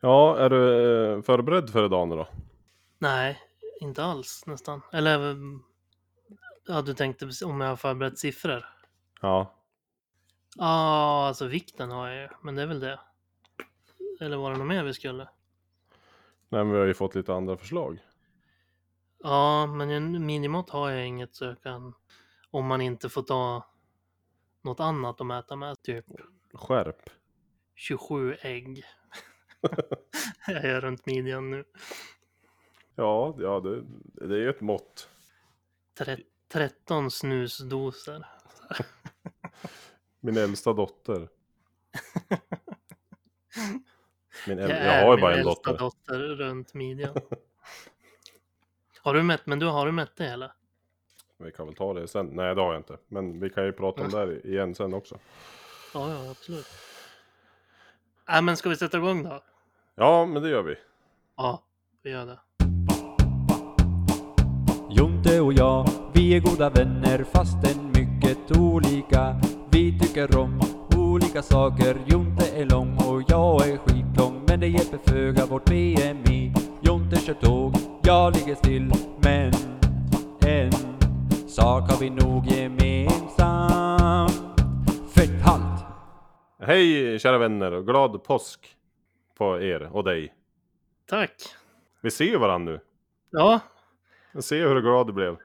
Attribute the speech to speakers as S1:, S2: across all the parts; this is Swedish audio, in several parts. S1: Ja, är du eh, förberedd för idag nu då?
S2: Nej, inte alls nästan. Eller mm, ja, du tänkte om jag har förberett siffror?
S1: Ja.
S2: Ja, alltså vikten har jag ju, men det är väl det. Eller var det något mer vi skulle?
S1: Nej, men vi har ju fått lite andra förslag.
S2: Ja, men en minimat har jag inget så jag kan, om man inte får ta något annat att mäta med, typ
S1: Skärp.
S2: 27 ägg. jag är runt midjan nu.
S1: Ja, ja det, det är ju ett mått.
S2: Tre- 13 snusdoser.
S1: Min äldsta dotter. Min äl-
S2: Jag,
S1: jag,
S2: är
S1: har
S2: min
S1: ju bara en
S2: äldsta
S1: dotter.
S2: dotter runt midjan. har du mätt, men du har du mätt det hela?
S1: Vi kan väl ta det sen. Nej, det har jag inte. Men vi kan ju prata om det här igen sen också.
S2: Ja, ja, absolut. Nej, men ska vi sätta igång då?
S1: Ja, men det gör vi.
S2: Ja, vi gör det.
S3: Jonte och jag, vi är goda vänner fastän mycket olika. Vi tycker om olika saker. Jonte är lång och jag är skitlång. Men det hjälper föga vårt BMI. Jonte kör tåg, jag ligger still. Men en sak har vi nog gemensamt. Fetthalt!
S1: Hej kära vänner och glad påsk på er och dig.
S2: Tack!
S1: Vi ser ju varandra nu.
S2: Ja,
S1: Jag ser hur glad du blev.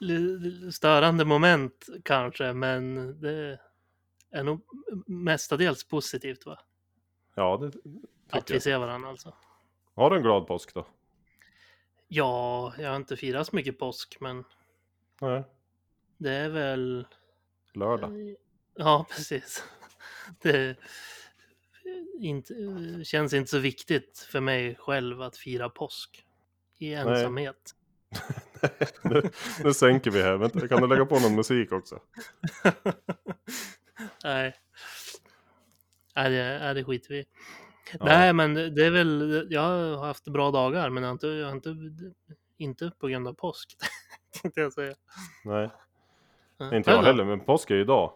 S2: l- l- störande moment kanske, men det är nog mestadels positivt va?
S1: Ja, det
S2: Att
S1: tycker
S2: vi
S1: jag.
S2: ser varandra alltså.
S1: Har du en glad påsk då?
S2: Ja, jag har inte firat så mycket påsk, men
S1: Nej.
S2: det är väl...
S1: Lördag.
S2: Eh, Ja, precis. Det inte, känns inte så viktigt för mig själv att fira påsk i ensamhet.
S1: nu, nu sänker vi här. Vänta, kan du lägga på någon musik också?
S2: Nej. Nej, det, nej, det skiter vi i.
S1: Ja.
S2: Nej, men det det är väl, jag har haft bra dagar, men jag har inte, jag har inte, inte på grund av påsk. tänkte jag säga.
S1: Nej,
S2: Ja.
S1: inte jag
S2: Själv då?
S1: heller. Men påsk är ju idag.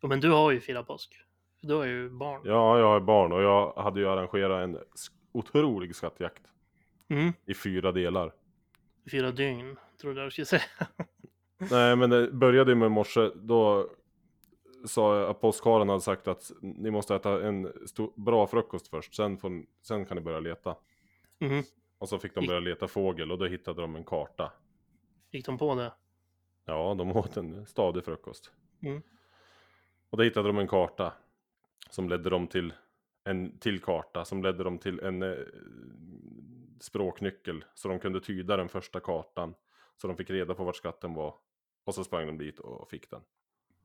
S2: Ja, Men du har ju firat påsk. Du har ju barn.
S1: Ja, jag har barn och jag hade ju arrangerat en sk- otrolig skattjakt
S2: Mm,
S1: i fyra delar.
S2: fyra dygn, trodde jag du skulle säga.
S1: Nej, men det började ju med i morse. Då sa jag att påskharen hade sagt att ni måste äta en stor, bra frukost först. Sen, får, ni- sen kan ni börja leta.
S2: Mm.
S1: Och så fick de börja leta fågel och då hittade de en karta.
S2: Gick de på det?
S1: Ja, de åt en stadig frukost.
S2: Mm.
S1: Och då hittade de en karta som ledde dem till en till karta som ledde dem till en eh, språknyckel så de kunde tyda den första kartan så de fick reda på vart skatten var och så sprang de dit och fick den.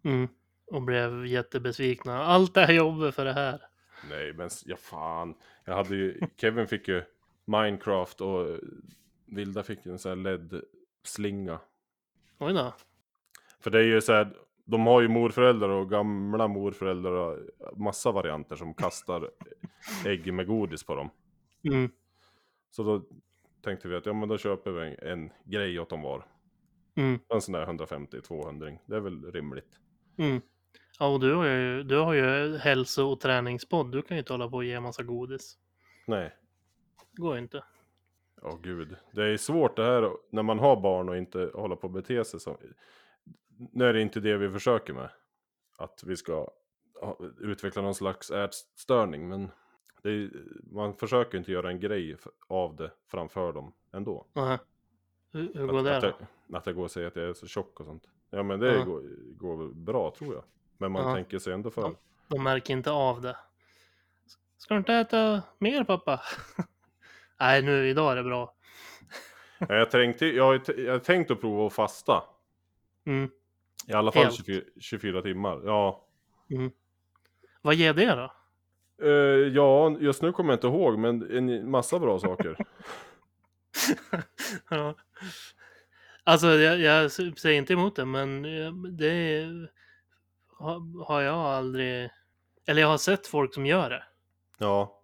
S2: Mm. Och blev jättebesvikna. Allt det här jobbet för det här.
S1: Nej, men s- ja fan. Jag hade ju, Kevin fick ju Minecraft och eh, Vilda fick en sån här LED-slinga.
S2: Oj då.
S1: För det är ju så här, de har ju morföräldrar och gamla morföräldrar och massa varianter som kastar ägg med godis på dem.
S2: Mm.
S1: Så då tänkte vi att ja men då köper vi en, en grej åt dem var.
S2: Mm.
S1: En sån där 150-200 det är väl rimligt.
S2: Mm. Ja, och du har ju, du har ju hälso och träningspodd. Du kan ju inte hålla på och ge en massa godis.
S1: Nej,
S2: Det går ju inte.
S1: ja gud. Det är svårt det här när man har barn och inte hålla på och bete sig som... Nu är det inte det vi försöker med. Att vi ska ha- utveckla någon slags ätstörning men det är, man försöker inte göra en grej f- av det framför dem ändå.
S2: Nej. Hur, hur går
S1: Att,
S2: det
S1: att,
S2: då?
S1: jag, att jag går och säger att jag är så tjock och sånt. Ja men det
S2: Ja.
S1: går, går väl bra tror jag. Men man
S2: Ja.
S1: tänker sig ändå för.
S2: Ja. De märker inte av det. Ska du inte äta mer pappa? Nej, nu idag är det bra.
S1: Ja, jag, tänkte, jag, har ju t- jag har tänkt att prova att fasta.
S2: Mm.
S1: I alla fall
S2: Helt.
S1: 24, 24 timmar. Ja.
S2: Mm. Vad ger det då?
S1: Eh, ja, just nu kommer jag inte ihåg men en massa bra saker.
S2: ja. Alltså, jag, jag säger inte emot det, men eh, det är- har- har jag aldrig... Eller jag har sett folk som gör det.
S1: ja.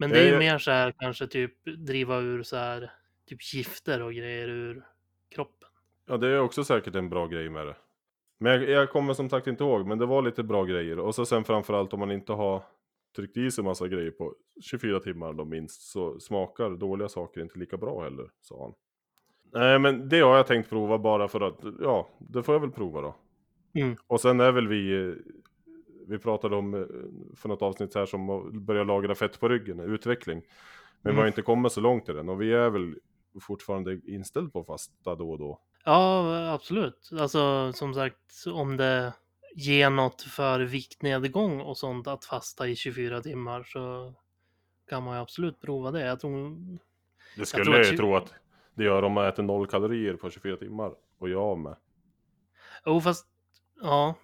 S2: Men
S1: Ja,
S2: det är ju
S1: jag-
S2: mer så här kanske typ driva ur så här typ gifter och grejer ur kroppen.
S1: ja, det är också säkert en bra grej med det. Men jag, jag kommer som sagt inte ihåg men det var lite bra grejer. Och så sen framförallt om man inte har tryckt i sig massa grejer på 24 timmar då minst så smakar dåliga saker inte lika bra heller, sa han. Nej, men det har jag tänkt prova bara för att, ja, det får jag väl prova då.
S2: Mm.
S1: Och sen är väl vi, eh, vi pratade om eh, för något avsnitt här som har börjat lagra fett på ryggen, utveckling. Men vi har
S2: Mm.
S1: inte kommit så långt i den och vi är väl fortfarande inställd på att fasta då och då.
S2: Ja, absolut. Alltså som sagt, om det ger något för viktnedgång och sånt att fasta i 24 timmar så kan man ju absolut prova det. Jag tror...
S1: Det skulle
S2: tror
S1: jag,
S2: att
S1: ju
S2: tju-
S1: tro att det gör om man äter noll kalorier på 24 timmar. Och jag med.
S2: Jo, fast ja.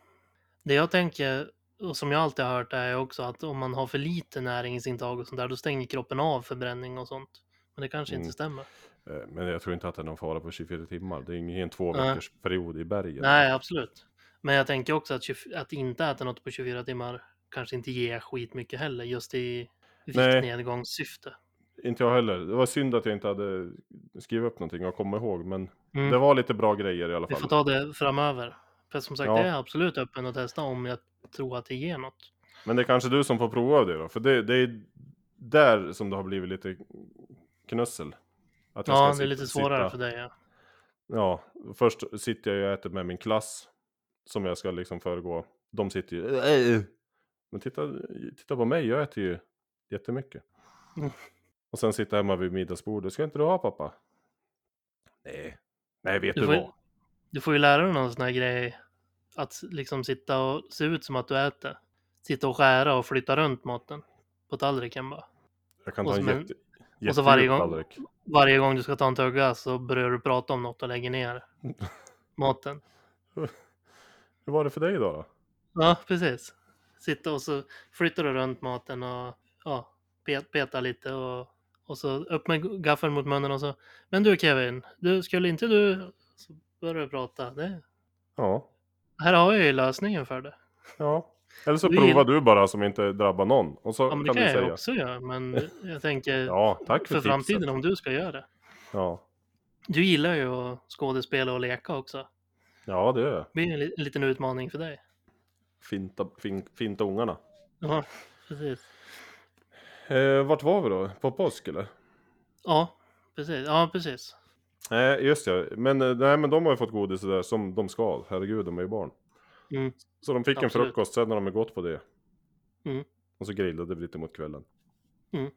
S2: Det jag tänker och som jag alltid har hört är också att om man har för lite näringsintag och sånt där då stänger kroppen av förbränning och sånt. Men det kanske
S1: Mm.
S2: inte stämmer.
S1: Eh, Men jag tror inte att det är någon fara på 24 timmar. Det är ingen två
S2: Nej.
S1: veckors period i bergen.
S2: Nej, absolut. Men jag tänker också att, 20, att inte äta något på 24 timmar kanske inte ger skitmycket heller just i
S1: Nej.
S2: viktnedgångssyfte.
S1: Inte jag heller. Det var synd att jag inte hade skrivit upp någonting och kommit ihåg. Men
S2: Mm.
S1: det var lite bra grejer i alla
S2: Vi
S1: fall.
S2: får ta det framöver. För som sagt,
S1: Ja.
S2: det är jag absolut öppen att testa om jag tror att det ger något.
S1: Men det är kanske du som får prova det då. För det, det är där som det har blivit lite knussel. Att jag
S2: Ja,
S1: ska
S2: det är
S1: sit-
S2: lite
S1: sitta-
S2: svårare för dig. Ja.
S1: Ja, först sitter jag ju och äter med min klass. Som jag ska liksom föregå. De sitter ju... "Äh, äh." Men titta, titta på mig, jag äter ju jättemycket.
S2: Mm.
S1: Och sen sitta hemma vid middagsbordet. Ska inte du ha pappa? Nej. Nej, vet
S2: Du
S1: du,
S2: får ju-
S1: vad?
S2: Du får ju lära dig någon sån här grej. Att liksom sitta och se ut som att du äter. Sitta och skära och flytta runt maten. På tallriken bara.
S1: Jag kan
S2: och
S1: ta en
S2: som en-
S1: jätte,
S2: och så varje
S1: jättedjup
S2: gång-
S1: tallrik.
S2: Varje gång du ska ta en tugga så börjar du prata om något och lägger ner maten.
S1: Hur var det för dig idag då?
S2: Ja, precis. Sitta och så flyttar du runt maten och ja, pet, peta lite och, och så upp med gaffeln mot munnen och så. Men du Kevin, du skulle inte du... Så börjar du prata. Det,
S1: Ja,
S2: här har jag ju lösningen för det.
S1: ja. Eller så
S2: Du
S1: provar
S2: gillar-
S1: du bara som inte drabbar någon. Och så
S2: Ja, men det
S1: kan
S2: kan
S1: du
S2: jag
S1: säga.
S2: också göra, men jag tänker
S1: Ja, tack för,
S2: för framtiden
S1: tipset.
S2: om du ska göra det.
S1: Ja.
S2: Du gillar ju att skådespela och leka också.
S1: ja, det är jag.
S2: Det blir en, li- en liten utmaning för dig.
S1: Finta, fin, finta ungarna.
S2: Ja, precis.
S1: Eh, vart var vi då? På påsk eller?
S2: Ja, precis. Ja, precis.
S1: Nej, just ja. Men, eh, nej, men de har ju fått godis och där som de ska. Herregud, de är ju barn.
S2: Mm.
S1: Så de fick en
S2: Absolut.
S1: frukost, sen har de ju gått på det.
S2: Mm.
S1: Och så grillade vi lite mot kvällen.
S2: Mm.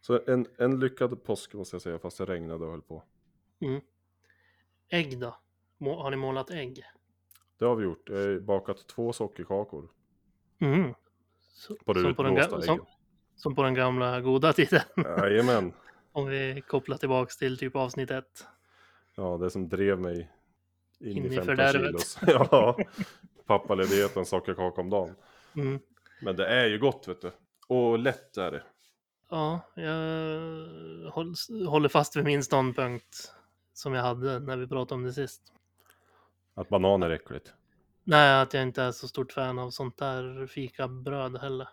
S1: Så en, en lyckad påsk måste jag säga, fast det regnade och höll på.
S2: Ägg då? Må- Har ni målat ägg?
S1: Det har vi gjort. Jag har ju bakat två sockerkakor.
S2: Mm. Så,
S1: På det
S2: som, på den
S1: utblåsta
S2: ga- som,
S1: äggen.
S2: som på den gamla goda tiden.
S1: Jajamän.
S2: Om vi kopplar tillbaks till typ avsnitt ett.
S1: Ja, det som drev mig in,
S2: In
S1: i
S2: i
S1: 15
S2: fördärvet.
S1: kilos. ja. Pappaledigheten, sockerkaka om dagen.
S2: Mm.
S1: Men det är ju gott vet du. Och lätt är det.
S2: Ja, jag håll, håller fast vid min ståndpunkt som jag hade när vi pratade om det sist.
S1: Att banan är äckligt.
S2: Nej, att jag inte är så stort fan av sånt där fikabröd heller.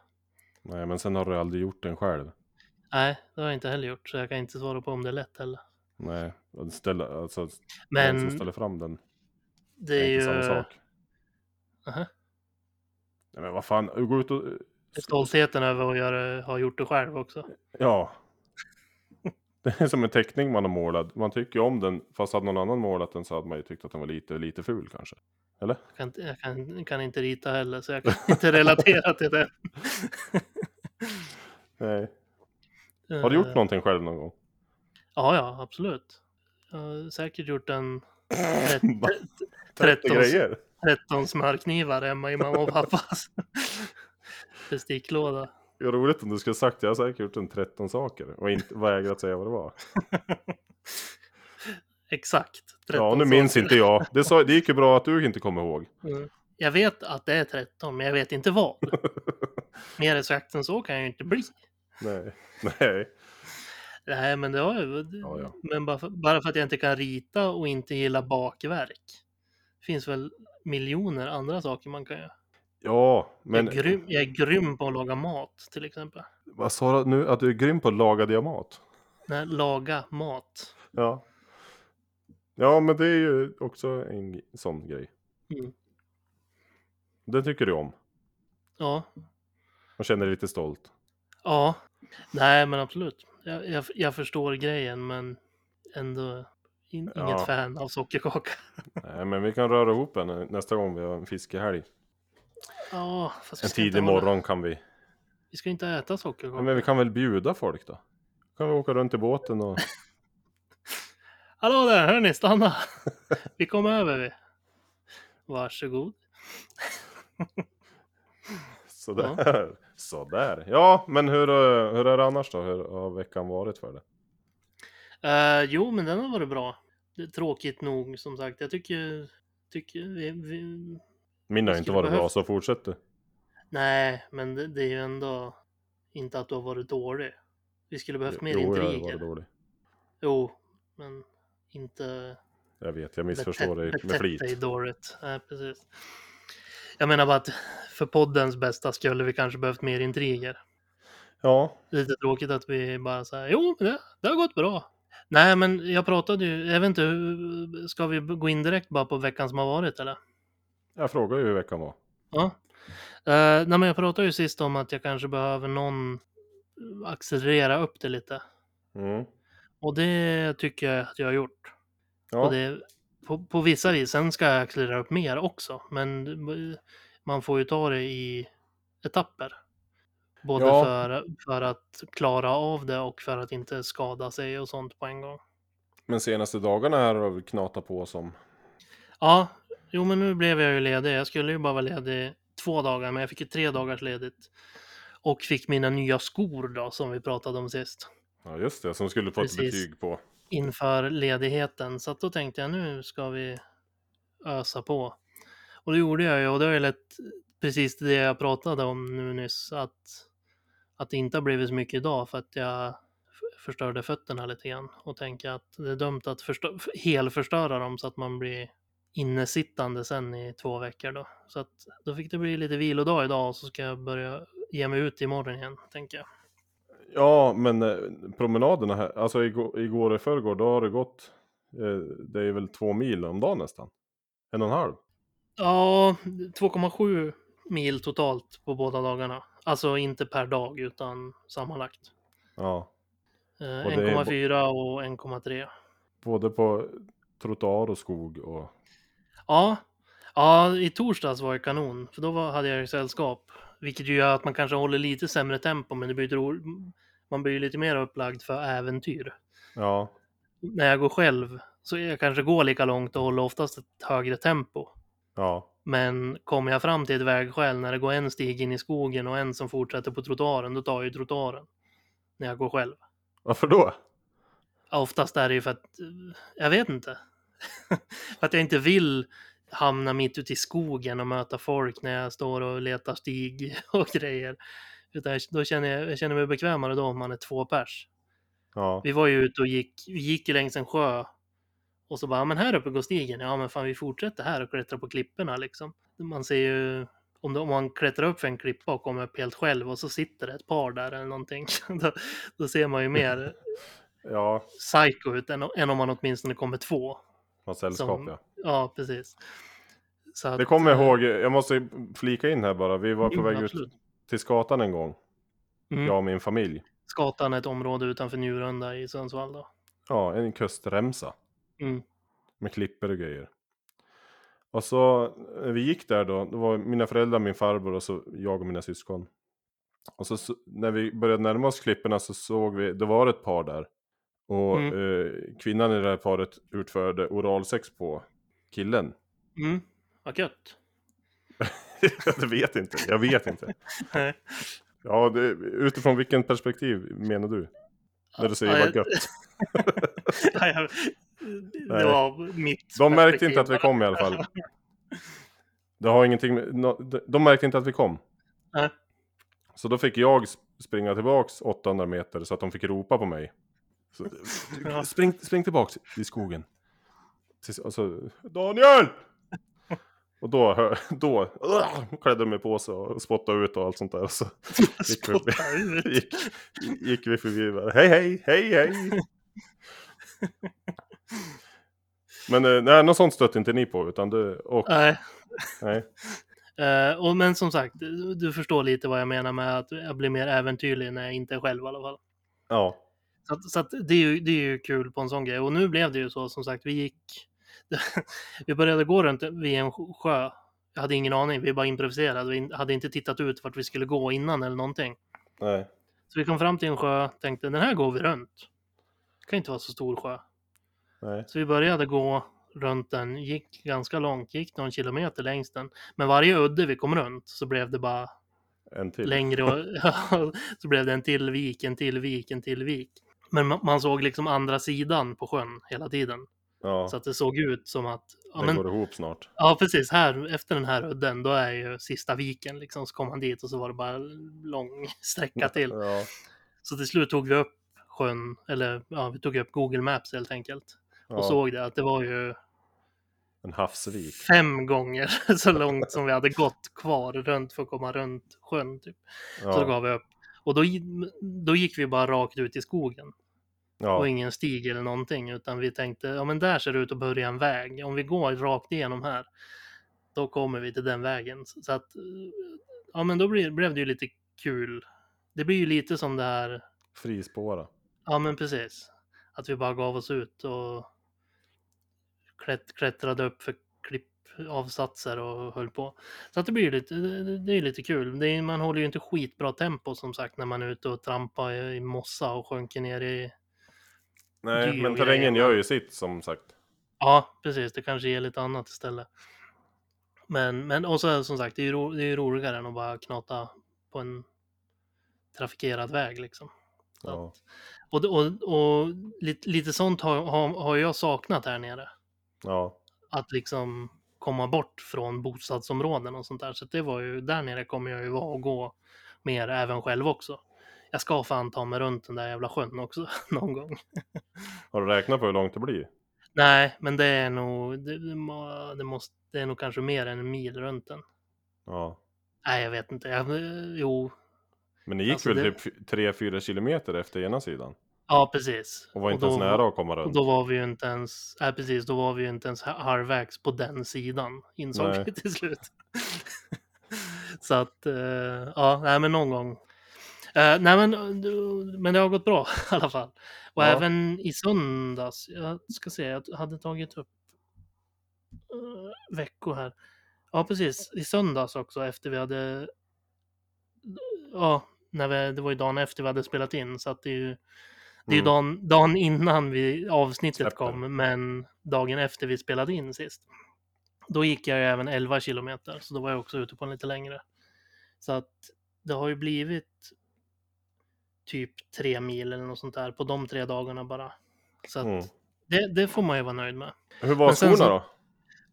S1: Nej, men sen har du aldrig gjort den själv.
S2: Nej, det har jag inte heller gjort, så jag kan inte svara på om det är lätt heller.
S1: Nej, att ställa, alltså den som
S2: Men
S1: ställer fram den.
S2: det
S1: Det
S2: är
S1: är
S2: ju...
S1: inte samma sak.
S2: Aha.
S1: Nej, men vad fan, gå ut och...
S2: Stoltheten över att göra, ha gjort det själv också.
S1: Ja. Det är som en teckning man har målat. Man tycker ju om den, fast hade någon annan målat den så hade man ju tyckt att den var lite, lite ful kanske. Eller?
S2: Jag kan, inte- jag kan, kan inte rita heller, så jag kan inte relatera till det.
S1: Nej. Har du gjort någonting själv någon gång?
S2: Eh, Ja, ja, absolut. Jag har säkert gjort en
S1: Bara 30
S2: 13,
S1: grejer?
S2: 13 smörknivar hemma i mamma och pappas besticklåda.
S1: Det var roligt om du skulle sagt jag har säkert gjort en 13 saker och inte vägrat säga vad det var.
S2: Exakt. 13
S1: Ja, nu minns
S2: saker.
S1: inte jag. Det, sa, det gick ju bra att du inte kommer ihåg.
S2: Mm. Jag vet att det är 13, men jag vet inte vad. Mer exakt än så kan jag ju inte bli.
S1: Nej. Nej.
S2: Nej, men det har jag
S1: Ja, ja.
S2: Men bara för, bara för att jag inte kan rita och inte gillar bakverk. finns väl miljoner andra saker man kan göra.
S1: Ja, men
S2: Jag, är grym, jag är grym på att laga mat till exempel.
S1: vad sa du nu? Att du är grym på att laga diamat?
S2: Nej, laga mat.
S1: Ja. Ja, men det är ju också en sån grej.
S2: Mm.
S1: Den tycker du om.
S2: Ja.
S1: Man känner sig lite stolt.
S2: Ja, nej men absolut. Jag, jag, jag förstår grejen men ändå in,
S1: Ja.
S2: inget fan av sockerkaka.
S1: Nej, men vi kan röra ihop en eh, nästa gång vi har en fiskehelg.
S2: Ja, fast vi
S1: En
S2: ska inte
S1: tidig
S2: hålla-
S1: morgon kan vi.
S2: Vi ska inte äta sockerkaka.
S1: Nej, men vi kan väl bjuda folk då? Kan vi åka runt i båten och...
S2: Hallå där, hörni, stanna! Vi kom över vi. Varsågod.
S1: Sådär. Sådär. Ja, men hur, eh, hur är det annars då? Hur har veckan varit för dig?
S2: Eh, jo, men den har varit bra. Det är tråkigt nog, som sagt. Jag tycker... tycker vi, vi...
S1: Min har
S2: Jag
S1: inte
S2: skulle
S1: varit bra,
S2: behövt-
S1: så fortsätt du.
S2: Nej, men det, det är ju ändå inte att du har varit dålig. Vi skulle behövt mer
S1: Jo, jag har varit
S2: intriger.
S1: dålig.
S2: Jo, men inte
S1: Jag vet, jag missförstår dig
S2: betett-
S1: med
S2: betett dig
S1: flit.
S2: dåligt. Nej, precis. Jag menar bara att för poddens bästa skulle vi kanske behövt mer intriger.
S1: Ja,
S2: lite tråkigt att vi bara säger jo, men det, det har gått bra. Nej, men jag pratade ju, jag vet inte, hur- ska vi gå in direkt bara på veckan som har varit eller?
S1: jag frågar ju hur veckan var.
S2: Ja. Eh, nej, men jag pratade ju sist om att jag kanske behöver någon accelerera upp det lite.
S1: Mm.
S2: Och det tycker jag att jag har gjort.
S1: Ja,
S2: Och det, på, på vissa vis, sen ska jag accelerera upp mer också, men man får ju ta det i etapper. Både
S1: Ja.
S2: för, för att klara av det och för att inte skada sig och sånt på en gång.
S1: men senaste dagarna här har vi knatat på som...
S2: Ja, jo men nu blev jag ju ledig. Jag skulle ju bara vara ledig två dagar, men jag fick ju tre dagars ledigt. Och fick mina nya skor då, som vi pratade om sist.
S1: Ja, just det, som skulle få ett
S2: Precis.
S1: betyg på.
S2: Inför ledigheten. Så att då tänkte jag nu ska vi ösa på. Och det gjorde jag ju och det har ju lett precis till det jag pratade om nu nyss. Att, att det inte har blivit så mycket idag för att jag f- förstörde fötterna lite grann. Och tänker att det är dumt att förstö- helförstöra dem så att man blir innesittande sen i två veckor då. Så att då fick det bli lite vilodag idag och så ska jag börja ge mig ut imorgon igen, tänker jag.
S1: Ja, men eh, promenaderna här, alltså igår, igår och förrgår, då har det gått, eh, det är väl två mil om dagen nästan. En och en halv.
S2: Ja, 2,7 mil totalt på båda dagarna. Alltså inte per dag utan sammanlagt.
S1: Ja,
S2: Eh,
S1: Och det är bo-
S2: 1,4 och 1,3.
S1: både på trottoar och skog och...
S2: Ja. ja, i torsdags var det kanon. För då var, hade jag ju sällskap. Vilket ju gör att man kanske håller lite sämre tempo men det blir ro... man blir ju lite mer upplagd för äventyr.
S1: Ja,
S2: När jag går själv så jag kanske går lika långt och håller oftast ett högre tempo.
S1: ja,
S2: Men kommer jag fram till ett vägskäl när det går en stig in i skogen och en som fortsätter på trottoaren, då tar jag ju trottoaren. När jag går själv.
S1: varför då?
S2: Ja, Oftast är det ju för att, eh, jag vet inte. för att jag inte vill hamna mitt ute i skogen och möta folk när jag står och letar stig och grejer. Utan jag, då känner jag, jag känner mig bekvämare då om man är två pers.
S1: Ja,
S2: Vi var ju ute och gick, vi gick ju längs en sjö. Och så bara, "Ja, men här uppe går stigen. Ja, men fan vi fortsätter här och klättrar på klipporna liksom. Man ser ju, om, de, om man klättrar upp för en klippa och kommer upp helt själv och så sitter det ett par där eller någonting. då, då ser man ju mer
S1: ja,
S2: psycho ut än, än om man åtminstone kommer två.
S1: ha sällskap
S2: Som-
S1: ja.
S2: Ja, precis. Så att,
S1: Det kommer jag
S2: eh,
S1: ihåg, jag måste flika in här bara, vi var på
S2: jo,
S1: väg
S2: absolut.
S1: ut till Skatan en gång,
S2: Mm.
S1: jag och min familj.
S2: Skatan är ett område utanför Njurunda i Sundsvall då.
S1: Ja, en kustremsa.
S2: Mm.
S1: Med klipper och grejer. Och så, när vi gick där då, det var mina föräldrar, min farbror och så jag och mina syskon. Och så, så när vi började närma oss klipporna så såg vi, det var ett par där. Och
S2: Mm.
S1: eh, kvinnan i det här paret utförde oralsex på killen.
S2: Mm. Vad gött.
S1: jag vet inte, jag vet inte.
S2: Nej.
S1: Ja, det, utifrån vilken perspektiv menar du? När du säger
S2: Ja,
S1: vad
S2: jag-
S1: gött.
S2: Nej, jag-
S1: Nej.
S2: det var mitt
S1: De märkte
S2: perspektiv
S1: inte att vi
S2: bara.
S1: kom i alla fall. Det har ingenting med, nå- de- de märkte inte att vi kom.
S2: Nej.
S1: Så då fick jag sp- springa tillbaks 800 meter så att de fick ropa på mig. Så,
S2: Ja.
S1: spring, spring tillbaks i skogen. Tills- Och så, Daniel! Och då, hör- då uh, klädde de mig på sig och spottade ut och allt sånt där. Och så gick vi,
S2: Spotta ut.
S1: gick, gick vi förbi varandra. Hej, hej, hej, hej! Men eh, nej, något sånt stötte inte ni på, utan du... Och,
S2: Nej,
S1: nej.
S2: Eh, och, men som sagt, du- du förstår lite vad jag menar med att jag blir mer äventyrlig när jag inte är själv i alla fall.
S1: Ja,
S2: Så, att, så att det, är ju, det är ju kul på en sån grej. Och nu blev det ju så, som sagt, vi gick... vi började gå runt vid en sjö. Jag hade ingen aning, vi bara improviserade. Vi hade inte tittat ut vart vi skulle gå innan eller någonting.
S1: nej.
S2: Så vi kom fram till en sjö, tänkte den här går vi runt. Det kan inte vara så stor sjö.
S1: nej.
S2: Så vi började gå runt den, gick ganska långt, gick någon kilometer längs den. Men varje udde vi kom runt så blev det bara
S1: En till.
S2: längre och så blev det en till vik, en till vik, en till vik. Men ma- man såg liksom andra sidan på sjön hela tiden.
S1: ja,
S2: Så att det såg ut som att, ja,
S1: det
S2: men,
S1: går ihop snart.
S2: ja precis, här efter den här udden då är ju sista viken liksom. Så kom man dit och så var det bara lång sträcka till.
S1: Ja,
S2: Så till slut tog vi upp sjön, eller ja, vi tog upp Google Maps helt enkelt.
S1: ja.
S2: Och såg det att det var ju
S1: En havsvik.
S2: fem gånger så långt som vi hade gått kvar runt för att komma runt sjön. Typ. Så då
S1: Ja,
S2: gav vi upp. Och då, då gick vi bara rakt ut i skogen och
S1: ja.
S2: ingen stig eller någonting utan vi tänkte ja men där ser det ut att börja en väg. Om vi går rakt igenom här då kommer vi till den vägen. Så att ja men då blir- blev det ju lite kul. Det blir ju lite som det här
S1: frispåra.
S2: Ja, men precis. Att vi bara gav oss ut och klätt, klättrade upp för klippavsatser och höll på. Så att det blir ju lite, det det är lite kul. Det är, man håller ju inte skitbra tempo som sagt när man är ute och trampar i, i mossa och sjunker ner i...
S1: Nej,
S2: Geo
S1: men
S2: grejer,
S1: terrängen
S2: ja.
S1: gör ju sitt som sagt.
S2: Ja, precis. Det kanske ger lite annat istället. Men, men och så, som sagt, det är ju ro, det är ju roligare än att bara knata på en trafikerad väg liksom. Så
S1: Ja.
S2: att, och, och, och lite, lite sånt har, har, har jag saknat här nere.
S1: Ja,
S2: att liksom komma bort från bostadsområden och sånt där. Så att det var ju, där nere kommer jag ju vara och gå mer även själv också. Jag ska fan ta mig runt den där jävla sjön också någon gång.
S1: har du räknat på hur långt det blir?
S2: Nej, men det är nog, det, det må- det, måste, det är nog kanske mer än en mil runt den.
S1: Ja.
S2: Nej, jag vet inte. Jag, eh, jo,
S1: Men ni gick
S2: Alltså,
S1: väl
S2: det-
S1: typ 3-4 kilometer efter ena sidan?
S2: ja precis.
S1: Och var inte ens
S2: då-
S1: nära att komma
S2: Och
S1: runt?
S2: då var vi ju inte ens, nej precis, då var vi ju inte ens halvvägs på den sidan, insåg
S1: Nej.
S2: vi till slut. Så att, eh, ja, nej men någon gång. Eh, nej men, eh, du- men det har gått bra i alla fall. Och
S1: Ja.
S2: även i söndags, jag ska se, jag hade tagit upp eh, veckor här. Ja precis, i söndags också efter vi hade, ja, när vi, det var ju dagen efter vi hade spelat in så att det är ju det är ju
S1: Mm.
S2: dagen, dagen innan vi, avsnittet
S1: Släppte.
S2: kom, men dagen efter vi spelade in sist. Då gick jag ju även 11 kilometer, så då var jag också ute på en lite längre. Så att det har ju blivit typ tre mil eller något sånt där på de tre dagarna bara. Så att
S1: Mm.
S2: det, det får man ju vara nöjd med.
S1: Hur var
S2: Men sen
S1: skorna
S2: så-
S1: då?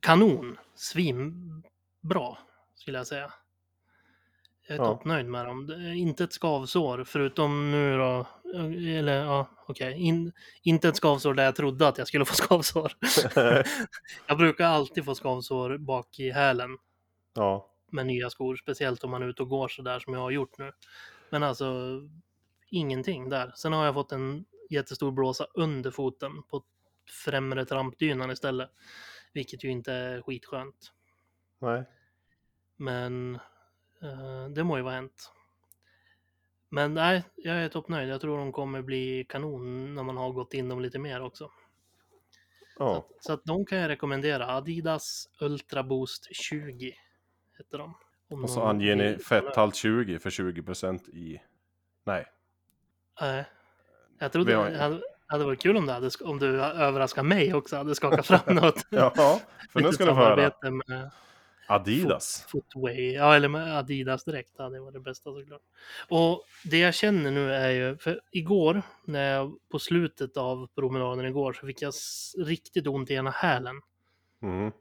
S2: Kanon, svinbra skulle jag säga. Jag är
S1: Ja.
S2: toppnöjd med dem. Det är Inte ett skavsår, förutom nu då. Eller ja, okej. In, inte ett skavsår där jag trodde att jag skulle få skavsår. jag brukar alltid få skavsår bak i hälen
S1: ja,
S2: med nya skor, speciellt om man är ute och går så där som jag har gjort nu. Men alltså, ingenting där. Sen har jag fått en jättestor blåsa under foten på främre trampdynan istället, vilket ju inte är skitskönt.
S1: nej.
S2: Men eh, det må ju vara hänt. Men nej, jag är toppnöjd. Jag tror de kommer bli kanon när man har gått in dem lite mer också. Så,
S1: Ja,
S2: att, så att de kan jag rekommendera. Adidas Ultra Boost 20 heter de. Om
S1: och så
S2: någon
S1: anger ni
S2: vill kolla.
S1: fetthalt 20 för 20% i... Nej.
S2: Nej. Jag
S1: Vi
S2: trodde
S1: har-
S2: det hade, hade varit kul om du, hade, sk- om du överraskar mig också, hade skakat fram något.
S1: Ja, för nu
S2: Lite
S1: ska du få höra.
S2: samarbete med
S1: Adidas.
S2: Footway, ja eller med Adidas direkt, ja, det var det bästa såklart. Och det jag känner nu är ju, för igår, när jag, på slutet av promenaden igår, så fick jag s- riktigt ont i ena hälen.
S1: Mm.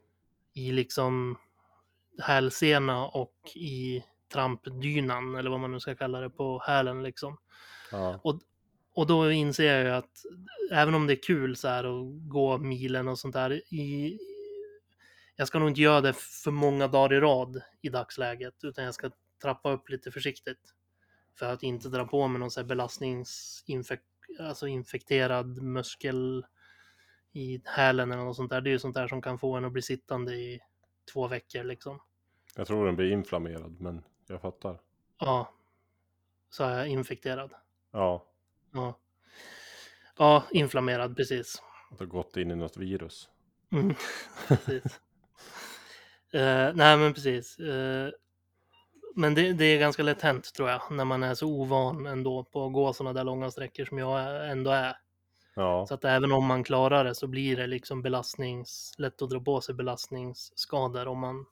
S2: I liksom hälsena och i trampdynan, eller vad man nu ska kalla det, på hälen liksom.
S1: Ja.
S2: Och då inser jag ju att även om det är kul så här att gå milen och sånt där i jag ska nog inte göra det för många dagar i rad i dagsläget, utan jag ska trappa upp lite försiktigt. För att inte dra på mig någon så här belastningsinfekterad alltså infekterad muskel i hälen eller något sånt där. Det är ju sånt där som kan få en att bli sittande i två veckor liksom.
S1: Jag tror den blir inflammerad, men jag fattar.
S2: Ja. Så är jag infekterad.
S1: Ja,
S2: Ja. Ja, inflammerad, precis.
S1: att det har gått in i något virus.
S2: Mm, precis. Eh, nej, men precis. Eh, men det, det är ganska lätt hänt, tror jag, när man är så ovan ändå på att gå sådana där långa sträckor som jag är- ändå är.
S1: Ja,
S2: Så att även om man klarar det så blir det liksom belastnings, lätt att dra på sig belastningsskador om man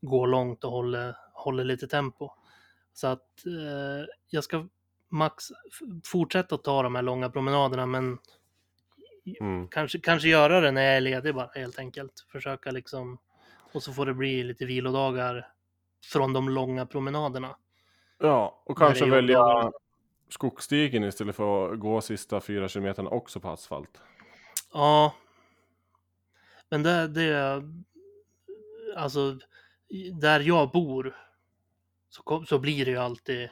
S2: går långt och håller, håller lite tempo. Så att eh, jag ska max f- fortsätta att ta de här långa promenaderna men
S1: mm.
S2: kanske, kanske göra det när jag är ledig bara helt enkelt. Försöka liksom och så får det bli lite vilodagar från de långa promenaderna.
S1: ja och
S2: Men
S1: kanske
S2: det är ju bra.
S1: välja skogsstigen istället för att gå sista fyra kilometerna också på asfalt.
S2: Ja. Men det, det alltså i- där jag bor så, kom, så blir det ju alltid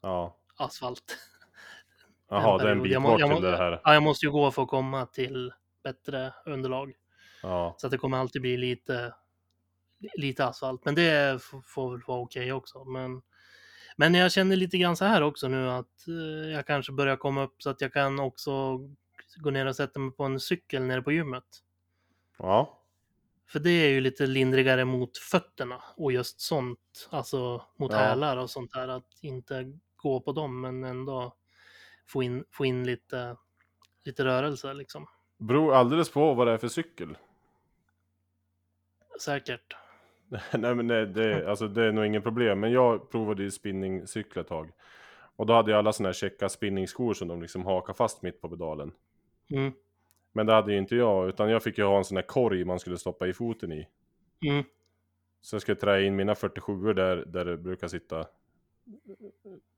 S1: Ja,
S2: asfalt.
S1: jaha,
S2: En
S1: det är en
S2: period.
S1: bit
S2: Jag må-
S1: bort
S2: jag må-
S1: till det här.
S2: Ja, jag måste ju gå för att komma till bättre underlag.
S1: Ja,
S2: Så att det kommer alltid bli lite, lite asfalt. Men det f- får väl vara okej också. Men, men jag känner lite grann så här också nu att eh, jag kanske börjar komma upp så att jag kan också gå ner och sätta mig på en cykel nere på gymmet.
S1: ja,
S2: För det är ju lite lindrigare mot fötterna och just sånt, alltså mot
S1: Ja.
S2: hälar och sånt där. Att inte gå på dem men ändå få in, få in lite, lite rörelse liksom.
S1: beror alldeles på vad det är för cykel.
S2: Säkert.
S1: Nej men det, det, alltså, det är nog ingen problem. Men jag provade ju spinningcykel ett tag. Och då hade jag alla såna här checka spinningskor som de liksom hakar fast mitt på pedalen.
S2: Mm.
S1: Men det hade ju inte jag, utan jag fick ju ha en sån här korg man skulle stoppa i foten i.
S2: Mm.
S1: Så jag skulle trä in mina 47 där, där det brukar sitta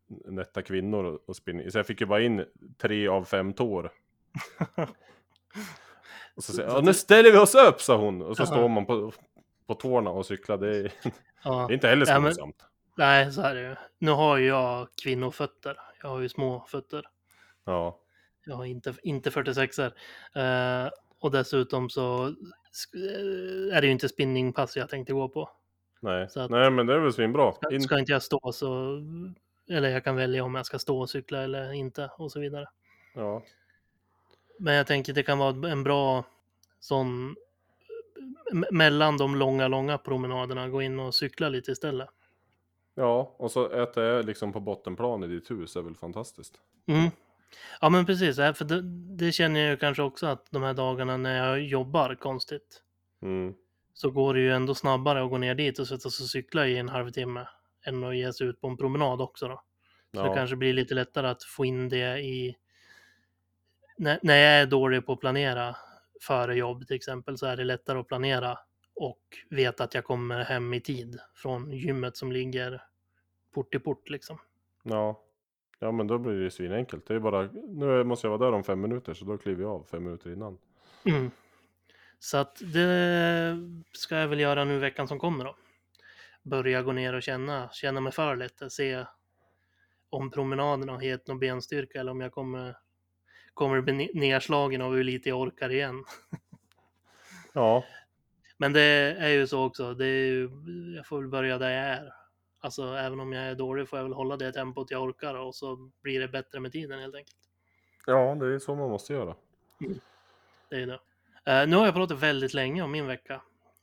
S1: nätta kvinnor och, och spinning. Så jag fick ju bara in tre av fem tår. och så säger jag, "Ja, nu ställer vi oss upp, sa hon. Och så
S2: Aha.
S1: står man på, på tårna och cyklar. Det är, det
S2: Ja.
S1: är inte heller
S2: Ja, men-
S1: skonsamt.
S2: Nej, så är det ju. Nu har ju jag kvinnofötter. Jag har ju små fötter.
S1: Ja,
S2: Jag har inte, inte 46 er eh, Och dessutom så sk- eh, är det ju inte spinningpass jag tänkte gå på.
S1: nej.
S2: Så att-
S1: nej men det är väl svinbra.
S2: Ska,
S1: In...
S2: ska inte jag stå så... Eller jag kan välja om jag ska stå och cykla eller inte och så vidare.
S1: Ja.
S2: Men jag tänker det kan vara en bra sån... me- Mellan de långa, långa promenaderna gå in och cykla lite istället.
S1: ja, och så äter jag liksom på bottenplan i ditt hus, det är väl fantastiskt.
S2: Mm. Ja men precis, eh, för det, det känner jag ju kanske också att de här dagarna när jag jobbar konstigt
S1: Mm.
S2: så går det ju ändå snabbare att gå ner dit och sätta sig och cykla i en halvtimme än att ge sig ut på en promenad också då. Så det
S1: Ja.
S2: kanske blir lite lättare att få in det i... När, när jag är dålig på att planera före jobb till exempel så är det lättare att planera och veta att jag kommer hem i tid från gymmet som ligger port i port liksom.
S1: Ja. Ja men då blir det ju svinenkelt. Det är bara, nu måste jag vara där om fem minuter så då kliver jag av fem minuter innan.
S2: Mm. Så att det ska jag väl göra nu veckan som kommer då. Börja gå ner och känna, känna mig för lite, se om promenaderna har gett någon benstyrka eller om jag kommer, kommer bli ne- nedslagen av hur lite jag orkar igen.
S1: Ja,
S2: Men det är ju så också, det är ju, jag får väl börja där jag är. Alltså även om jag är dålig får jag väl hålla det tempot jag orkar och så blir det bättre med tiden helt enkelt.
S1: ja det är så man måste göra.
S2: Det är ju det. Eh, nu har jag pratat väldigt länge om min vecka.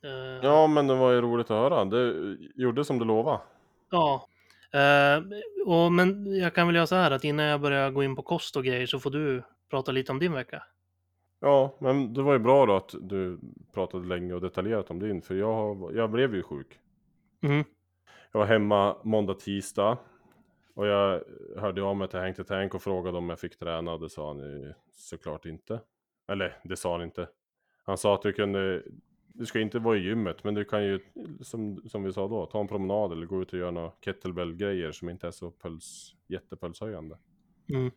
S2: Eh,
S1: Ja men det var ju roligt att höra. Det gjorde som du lovade.
S2: Ja. Eh, och, men jag kan väl göra så här att innan jag börjar gå in på kost och grejer så får du prata lite om din vecka.
S1: Ja, men det var ju bra då att du pratade länge och detaljerat om din. För jag, har- jag blev ju sjuk.
S2: Mm.
S1: Jag var hemma måndag, tisdag. Och jag hörde av mig till Hank till Tank och frågade om jag fick träna och det sa han ju såklart inte. Eller det sa han inte. Han sa att du kunde, du ska inte vara i gymmet men du kan ju, som, som vi sa då, ta en promenad eller gå ut och göra några kettlebell-grejer som inte är så puls, jättepulshöjande.
S2: Mm.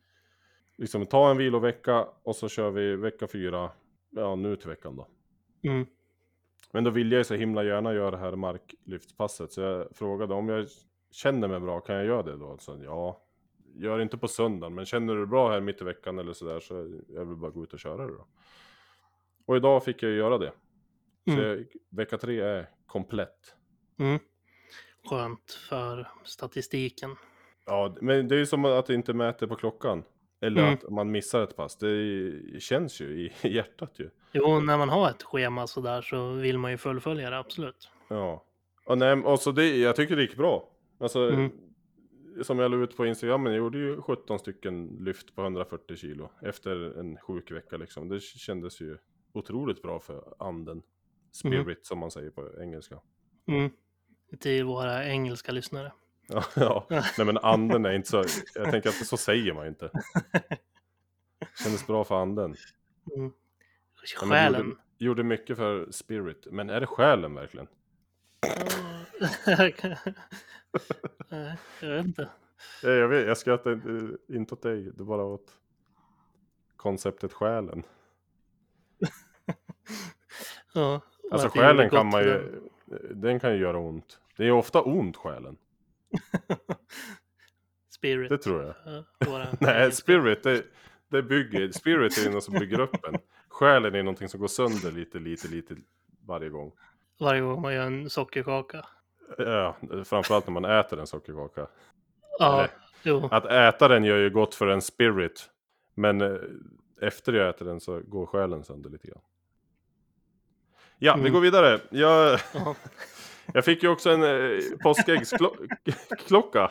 S1: Liksom ta en vilovecka och så kör vi vecka fyra, ja nu till veckan då.
S2: Mm.
S1: Men då vill jag ju så himla gärna göra det här marklyftspasset, så jag frågade om jag känner mig bra, kan jag göra det då? Så, ja, gör det inte på söndagen, men känner du dig bra här mitt i veckan eller sådär så jag vill bara gå ut och köra det då. Och idag fick jag ju göra det. Så
S2: Mm.
S1: jag, vecka tre är komplett.
S2: Mm. skönt för statistiken.
S1: Ja, men det är ju som att det inte mäter på klockan. Eller
S2: Mm.
S1: att man missar ett pass. Det är ju- känns ju i i hjärtat ju.
S2: Jo, när man har ett schema sådär så vill man ju fullfölja det, absolut.
S1: Ja. Och, nej, och så det, jag tycker det gick bra. Alltså,
S2: Mm.
S1: Som jag la ut på Instagram, men jag gjorde ju 17 stycken lyft på 140 kilo efter en sjuk vecka liksom. Det kändes ju otroligt bra för anden. Spirit som man säger på engelska.
S2: Mm. Till våra engelska lyssnare.
S1: Ja, ja. nej men anden är inte så, jag tänker att så säger man ju inte. Kändes bra för anden.
S2: Mm.
S1: Ja, men
S2: Själen.
S1: Gjorde, gjorde mycket för spirit, men är det själen verkligen?
S2: Nej, jag vet inte.
S1: Nej, Jag, vet, jag skrattar inte, eh, inte åt dig, det är bara åt konceptet själen.
S2: Ja,
S1: Alltså
S2: att det gjorde
S1: själen kan
S2: gott
S1: man
S2: eh, för
S1: ju, eh, den kan ju göra ont. Det är ju ofta ont själen,
S2: den. Spirit.
S1: det tror jag.
S2: Ja, våra
S1: Nej,
S2: engelska.
S1: spirit, det, det bygger, spirit är ju något som bygger upp en. Själen är någonting som går sönder lite, lite, lite varje gång.
S2: Varje gång man gör en sockerkaka.
S1: Ja, framförallt när man äter en sockerkaka.
S2: Ja,
S1: Eller-
S2: jo.
S1: Att äta den gör ju gott för en spirit, men eh, efter jag äter den så går själen sönder lite grann. Ja, vi
S2: Mm.
S1: går vidare. Jag,
S2: Ja.
S1: jag fick ju också en eh, påskäggsklocka.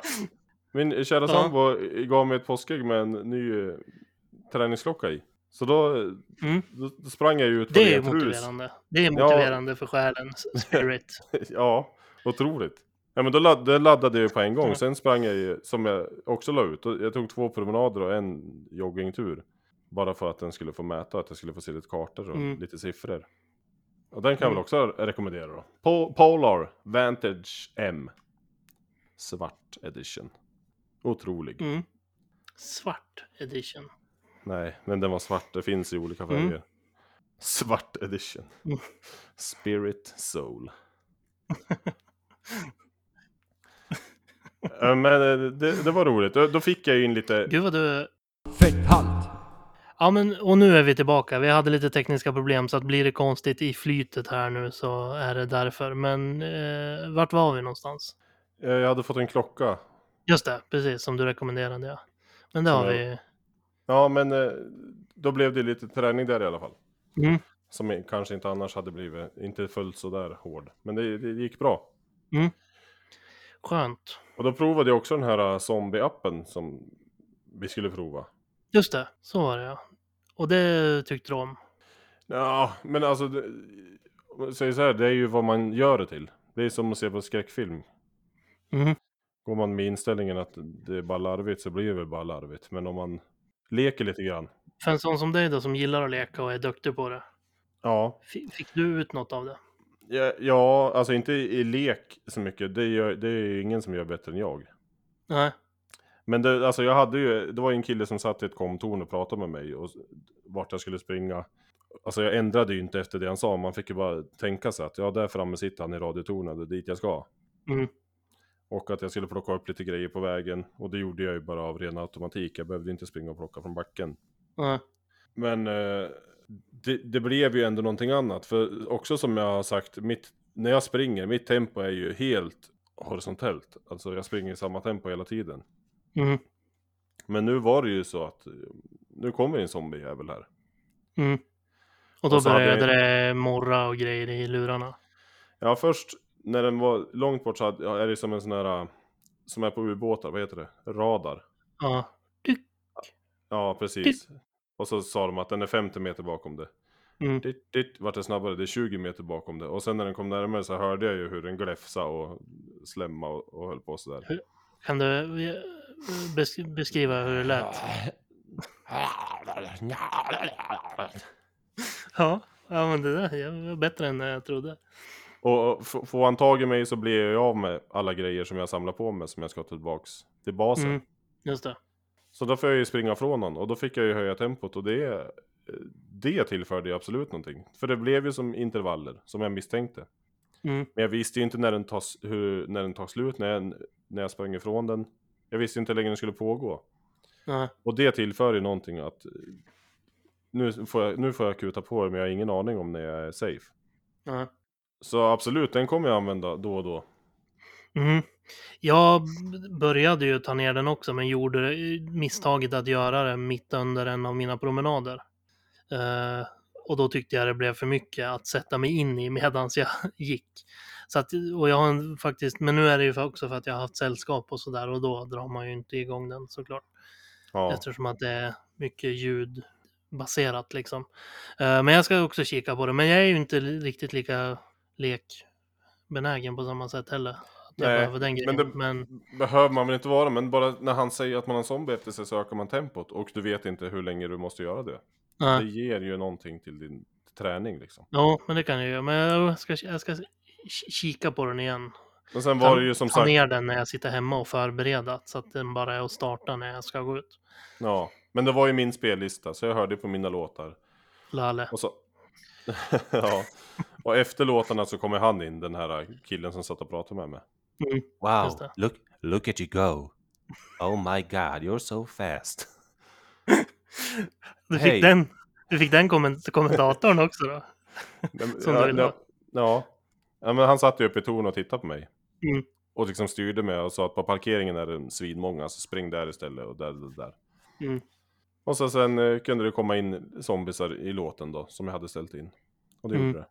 S1: Min kära
S2: Ja.
S1: sambo gav mig ett påskägg med en ny eh, träningsklocka i. Så då,
S2: Mm.
S1: då då sprang jag ju ut på
S2: Det är
S1: rent rus.
S2: motiverande. Det är motiverande för själen. Spirit.
S1: Ja, otroligt. Ja, men då ladd, det laddade jag ju på en gång.
S2: Ja.
S1: Sen sprang jag ju, som jag också la ut, och jag tog två promenader och en joggingtur. Bara för att den skulle få mäta, att jag skulle få se lite kartor och
S2: Mm.
S1: lite siffror. Och den kan jag
S2: Mm.
S1: väl också rekommendera då. Po- Polar Vantage M. Svart edition. Otrolig.
S2: Mm. Svart edition.
S1: Nej, men den var svart. Det finns i olika färger.
S2: Mm.
S1: Svart edition.
S2: Mm.
S1: Spirit soul. Eh, men eh, det, det var roligt. Då, då fick jag ju in lite...
S2: Gud vad du...
S3: Fetthalt.
S2: Ja men, och nu är vi tillbaka. Vi hade lite tekniska problem så att blir det konstigt i flytet här nu så är det därför. Men eh, vart var vi någonstans?
S1: eh, Jag hade fått en klocka.
S2: Just det, precis som du rekommenderade ja. Men det
S1: Som
S2: har
S1: jag-
S2: vi...
S1: Ja, men eh, då blev det lite träning där i alla fall.
S2: Mm.
S1: Som i- kanske inte annars hade blivit, inte följt så där hård. Men det, det gick bra.
S2: Skönt.
S1: Och då provade jag också den här eh, zombie-appen som vi skulle prova.
S2: Just det, så var det ja. Och det tyckte du om.
S1: Ja, men alltså, det, om jag säger så här, det är ju vad man gör det till. Det är som att se på skräckfilm. Mm.
S2: Mhm.
S1: Går man med inställningen att det är bara larvigt så blir det väl bara larvigt. Men om man leker lite grann.
S2: För en sån som dig då som gillar att leka och är duktig på det.
S1: Ja,
S2: fi- Fick du ut något av det?
S1: ja, ja alltså inte i i lek så mycket. Det, gör, det är ju ingen som gör bättre än jag.
S2: Nej.
S1: Men det, alltså jag hade ju, det var ju en kille som satt i ett komtorn och pratade med mig och s- vart jag skulle springa. Alltså jag ändrade ju inte efter det han sa, man fick ju bara tänka sig att ja, där framme sitter han i radiotornet, det är dit jag ska.
S2: Mm.
S1: Och att jag skulle plocka upp lite grejer på vägen och det gjorde jag ju bara av ren automatik, jag behövde inte springa och plocka från backen.
S2: Nej.
S1: Men eh, det, det blev ju ändå någonting annat, för också som jag har sagt, mitt, när jag springer, mitt tempo är ju helt horisontellt. Alltså jag springer i samma tempo hela tiden.
S2: Mm.
S1: Men nu var det ju så att eh, nu kommer en zombiejävel här.
S2: Mm. Och då
S1: Och så hade
S2: började det morra och grejer i lurarna.
S1: Ja, först när den var långt bort så hade, ja, är det som en sån här, eh, som är på ubåtar, vad heter det? Radar.
S2: Ja.
S1: Ja, precis.
S2: Typ.
S1: Och så sa de att den är 50 meter bakom det.
S2: Mm.
S1: Ditt, ditt, vart det snabbare, det är 20 meter bakom det. Och sen när den kom närmare så hörde jag ju hur den gläfsade och slämma och, och höll på sådär.
S2: Kan du eh, besk- beskriva hur det lät? Ja, ja men det där var bättre än jag trodde.
S1: Och och f- får han tag i mig så blir jag ju av med alla grejer som jag samlar på mig som jag ska ta tillbaks till basen.
S2: Mm. Just det.
S1: Så då får jag ju springa från honom och då fick jag ju höja tempot och det, eh, det tillförde ju absolut någonting. För det blev ju som intervaller, som jag misstänkte.
S2: Mm.
S1: Men jag visste ju inte när den tar, s- hur, när den tar slut, när jag, när jag sprang ifrån den. Jag visste inte hur länge den skulle pågå.
S2: Ja.
S1: Och det tillför ju någonting att eh, nu får jag, nu får jag kuta på det men jag har ingen aning om när jag är safe.
S2: Ja.
S1: Så absolut, den kommer jag använda då och då.
S2: Mm. Jag b- började ju ta ner den också, men gjorde det- misstaget att göra det mitt under en av mina promenader. Eh, och då tyckte jag det blev för mycket att sätta mig in i medans jag gick. Så att, och jag har en- faktiskt, men nu är det ju för- också för att jag har haft sällskap och sådär och då drar man ju inte igång den såklart.
S1: Ja,
S2: Eftersom att det är mycket ljudbaserat liksom. Eh, Men jag ska också kika på det. Men jag är ju inte li- riktigt lika lekbenägen på samma sätt heller. Att jag
S1: Nej,
S2: behöver den grejen.
S1: det-
S2: Men, men
S1: behöver man väl inte vara men bara när han säger att man har en zombie efter sig så ökar man tempot och du vet inte hur länge du måste göra det.
S2: nej.
S1: Det ger ju någonting till din träning liksom.
S2: ja, men det kan jag göra. Men jag ska, jag ska ki- kika på den igen.
S1: Men sen var det ju som
S2: Ta
S1: sagt,
S2: ner den när jag sitter hemma och förbereda. Så att den bara är att starta när jag ska gå ut.
S1: ja, men det var ju min spellista så jag hörde på mina låtar.
S2: Lalle.
S1: Och så... ja. Och efter låtarna så kommer han in, den här killen som satt och pratade med mig.
S2: Just
S4: Wow,
S2: det.
S4: look, look at you go. Oh my god, you're so fast.
S2: Du
S4: Hej.
S2: fick, den, du fick den komment- kommentatorn också då.
S1: Nej, men-
S2: Som
S1: ja,
S2: du vill
S1: ja,
S2: ha.
S1: ja. ja, men han satt ju uppe i torn och tittade på mig.
S2: Mm.
S1: Och liksom styrde mig och sa att på parkeringen är det svinmånga, så spring där istället och där, där, där.
S2: Mm.
S1: Och så sen eh, kunde det komma in zombiesar i låten då, som jag hade ställt in. Och det
S2: Mm.
S1: gjorde det.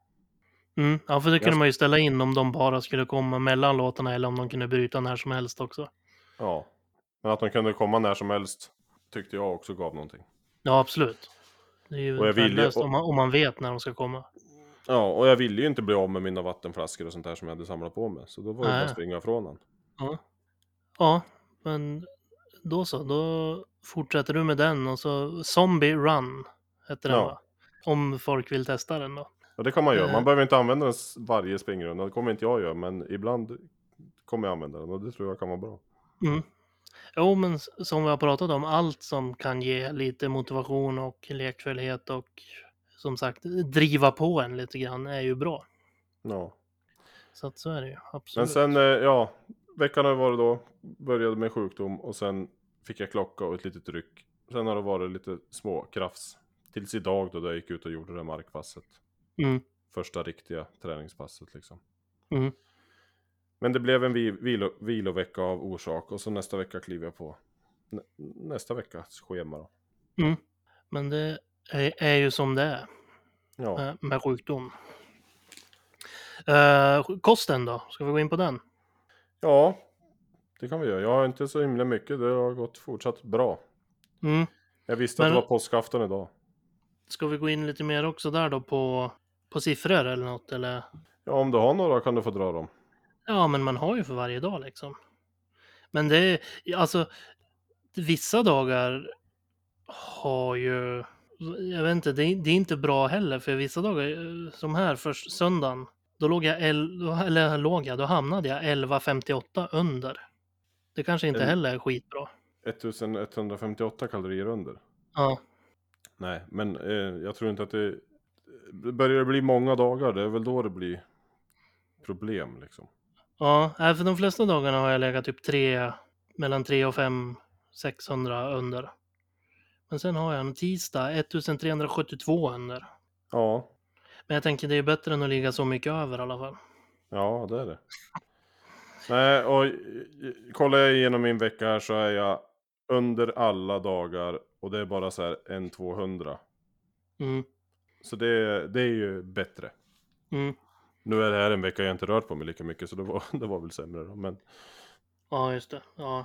S2: Mm, ja, för det kunde
S1: Jag-
S2: man ju ställa in om de bara skulle komma mellan låtarna eller om de kunde bryta när som helst också.
S1: Ja. Men att de kunde komma när som helst tyckte jag också gav någonting.
S2: Ja, absolut. Det är ju
S1: Och jag vill ju-
S2: värdelöst om, man, om man vet när de ska komma.
S1: Ja, och jag ville ju inte bli av med mina vattenflaskor och sånt där som jag hade samlat på mig. Så då var det bara
S2: Nej.
S1: att springa ifrån han.
S2: Ja, men då så. Då fortsätter du med den och så Zombie Run heter den
S1: Ja.
S2: va? Om folk vill testa den då.
S1: Och det kan man göra. Man
S2: Eh.
S1: behöver inte använda den s- varje springrunda. Det kommer inte jag göra, men ibland kommer jag använda den och det tror jag kan vara bra.
S2: Mm. Jo, men s- som vi har pratat om, allt som kan ge lite motivation och lekfullhet och som sagt driva på en lite grann är ju bra.
S1: Ja.
S2: Så att så är det ju,
S1: Men
S2: absolut.
S1: sen, eh, ja, veckan har ju varit då, började med sjukdom och sen fick jag klocka och ett litet ryck. Sen har det varit lite små krafs. Tills idag då, då jag gick ut och gjorde det här markpasset.
S2: Mm.
S1: Första riktiga träningspasset liksom.
S2: Mm.
S1: Men det blev en vi- vilo- vilovecka av orsak och så nästa vecka kliver jag på nä- nästa veckas schema då.
S2: Men det är, är ju som det är
S1: Ja.
S2: med, med sjukdom. Eh, kosten då? Ska vi gå in på den?
S1: ja, det kan vi göra. Jag har inte så himla mycket, det har gått fortsatt bra.
S2: Mm.
S1: Jag visste
S2: Men-
S1: att det var påskafton idag.
S2: Ska vi gå in lite mer också där då på, på siffror eller något? Eller?
S1: Ja, om du har några kan du få dra dem.
S2: Ja, men man har ju för varje dag liksom. Men det är alltså vissa dagar har ju, jag vet inte, det är, det är inte bra heller för vissa dagar, eh, som här först söndagen, då låg jag, el, då- eller låg jag, då hamnade jag 11.58 under. Det kanske inte
S1: Mm.
S2: heller är skitbra.
S1: 1158 kalorier under.
S2: Ja,
S1: Nej, men eh, jag tror inte att det... Börjar det bli många dagar, det är väl då det blir problem liksom.
S2: ja, nej, för de flesta dagarna har jag legat typ 3, mellan 3 och 5, 600 under. Men sen har jag en tisdag 1372 under.
S1: Ja,
S2: Men jag tänker det är bättre än att ligga så mycket över i alla fall.
S1: ja det är det. Nej, och eh, kollar jag igenom min vecka här så är jag under alla dagar och det är bara så här en 200.
S2: Mm.
S1: Så det, det är ju bättre.
S2: Mm.
S1: Nu är det här en vecka jag inte rört på mig lika mycket så det var, det var väl sämre då. Men
S2: Ja, just det. Ja.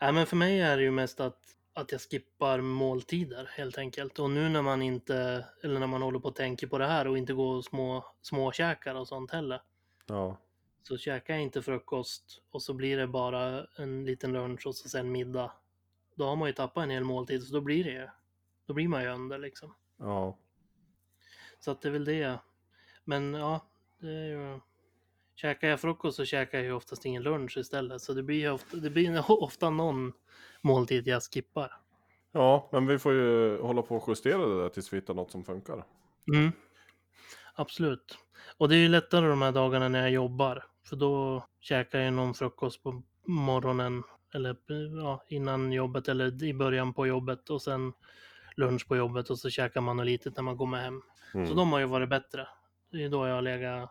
S2: Nej, men för mig är det ju mest att, att jag skippar måltider helt enkelt. Och nu när man inte, eller när man håller på och tänker på det här och inte går och små, småkäkar och sånt heller.
S1: ja,
S2: Så käkar jag inte frukost och så blir det bara en liten lunch och så sen middag. Då har man ju tappat en hel måltid så då blir det ju, då blir man ju under liksom.
S1: ja.
S2: Så att det är väl det. Men ja, det är ju... Käkar jag frukost så käkar jag ju oftast ingen lunch istället. Så det blir ju ofta, det blir ju ofta någon måltid jag skippar.
S1: Ja, men vi får ju hålla på och justera det där tills vi hittar något som funkar.
S2: Mm. Absolut. Och det är ju lättare de här dagarna när jag jobbar. För då käkar jag någon frukost på morgonen. Eller ja, innan jobbet eller i början på jobbet. Och sen lunch på jobbet. Och så käkar man något litet när man kommer hem.
S1: Mm.
S2: Så de har ju varit bättre. Det är ju då jag har legat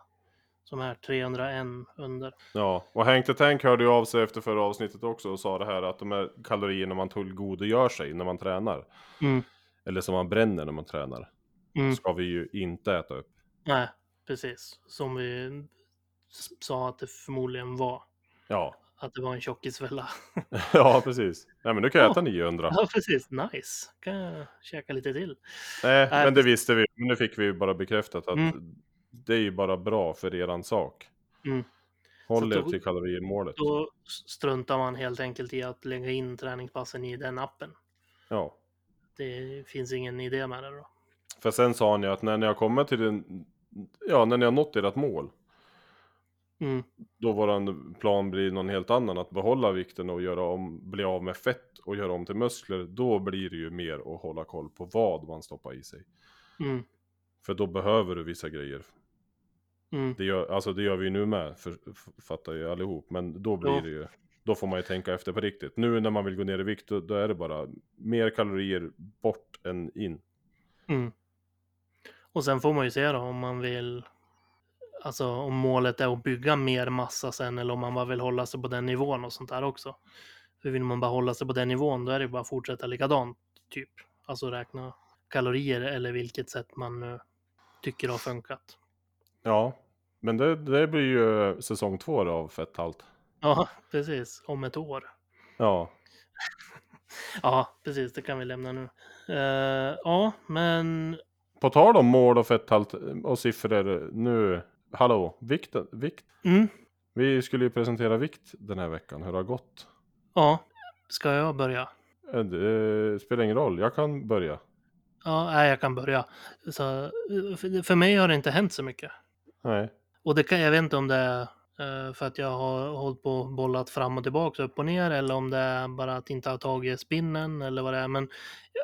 S2: som är 301 under.
S1: Ja, och Hank the Tank hörde ju av sig efter förra avsnittet också och sa det här att de här kalorierna man tillgodogör sig när man tränar,
S2: Mm.
S1: eller som man bränner när man tränar,
S2: Mm.
S1: ska vi ju inte äta upp.
S2: Nej, precis. Som vi s- sa att det förmodligen var.
S1: Ja,
S2: Att det var en tjockisfälla.
S1: ja precis. Nej men nu kan jag äta
S2: Ja.
S1: 900.
S2: Ja, precis. Nice. Kan jag käka lite till.
S1: Nej,
S2: Nej,
S1: men det visste vi. Men nu fick vi ju bara bekräftat att det är ju bara bra för eran sak.
S2: Mm.
S1: Håll
S2: Så
S1: er
S2: då-
S1: till kalorimålet.
S2: Då struntar man helt enkelt i att lägga in träningspassen i den appen.
S1: Ja.
S2: Det finns ingen idé med det då.
S1: För sen sa ni att när ni har kommit till den, ja, när ni har nått ert mål,
S2: Mm.
S1: då våran plan blir någon helt annan, att behålla vikten och göra om, bli av med fett och göra om till muskler, då blir det ju mer att hålla koll på vad man stoppar i sig.
S2: Mm.
S1: För då behöver du vissa grejer.
S2: Mm.
S1: Det gör, alltså det gör vi ju nu med, för, f- fattar ju allihop, men då blir
S2: Ja.
S1: det ju, då får man ju tänka efter på riktigt. Nu när man vill gå ner i vikt, då, då är det bara mer kalorier bort än in.
S2: Mm. Och sen får man ju se då om man vill, alltså om målet är att bygga mer massa sen eller om man bara vill hålla sig på den nivån och sånt där också. För vill man bara hålla sig på den nivån då är det bara att fortsätta likadant, typ. Alltså räkna kalorier eller vilket sätt man nu tycker har funkat.
S1: Ja, men det, det blir ju säsong två då av Fetthalt.
S2: Ja, precis. Om ett år.
S1: Ja,
S2: Ja, precis. Det kan vi lämna nu. Eh, ja, men
S1: på tal om mål och fetthalt eh, och siffror nu, hallå, vikten, vikt.
S2: mm,
S1: Vi skulle ju presentera vikt den här veckan, hur det har gått.
S2: ja, ska jag börja?
S1: Eh, Det spelar ingen roll, jag kan börja.
S2: Ja, nej, jag kan börja. Så, eh, för- för mig har det inte hänt så mycket.
S1: Nej,
S2: Och det kan, jag vet inte om det är eh, för att jag har hållit på och bollat fram och tillbaka, upp och ner, eller om det är bara att inte ha tagit spinnen eller vad det är. Men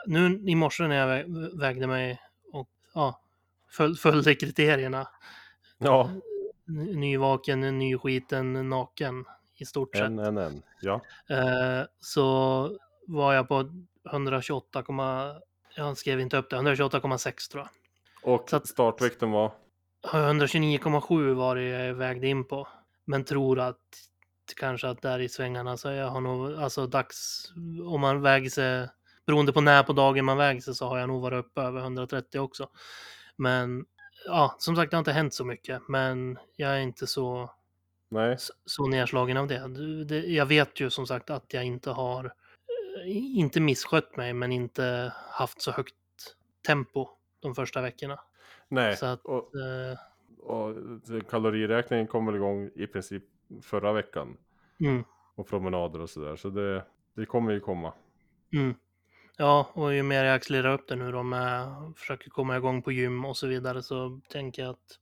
S2: nu i morse när jag vä- vägde mig och ja, föl, följde kriterierna.
S1: ja,
S2: N- Nyvaken, nyskiten, naken i stort sett.
S1: en, en, en. Ja,
S2: Eh, så var jag på 128, jag skrev inte upp det, 128,6 tror jag.
S1: och
S2: Så att-
S1: startvikten var?
S2: 129,7 var det jag vägde in på. Men tror att kanske att där i svängarna så jag har nog, alltså dags, om man väger sig, beroende på när på dagen man väger sig så har jag nog varit uppe över 130 också. Men ja, som sagt det har inte hänt så mycket, men jag är inte så,
S1: Nej,
S2: så- så nedslagen av det. Du- det. Jag vet ju som sagt att jag inte har, eh, inte misskött mig, men inte haft så högt tempo de första veckorna.
S1: nej.
S2: Så att-
S1: Och,
S2: Eh,
S1: och kaloriräkningen kom väl igång i princip förra veckan.
S2: Mm.
S1: Och promenader och sådär, så det, det kommer ju komma.
S2: Mm. Ja, och ju mer jag accelererar upp det nu då med försöker komma igång på gym och så vidare så tänker jag att,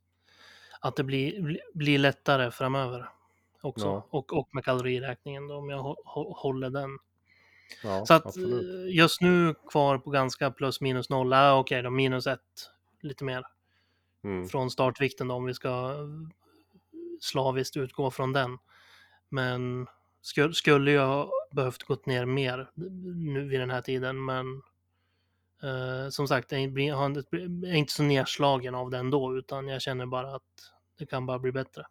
S2: att det blir, bli- blir lättare framöver också.
S1: Ja.
S2: Och, och med kaloriräkningen då, om jag hå- hå- håller den.
S1: Ja,
S2: så att
S1: absolut.
S2: eh, just nu kvar på ganska plus minus noll, ah, okej då minus ett lite mer
S1: Mm.
S2: från startvikten då om vi ska eh, slaviskt utgå från den. Men skulle, skulle jag behövt gått ner mer nu vid den här tiden, men eh, som sagt, jag blir- har inte- jag är inte så nedslagen av den då, utan jag känner bara att det kan bara bli bättre.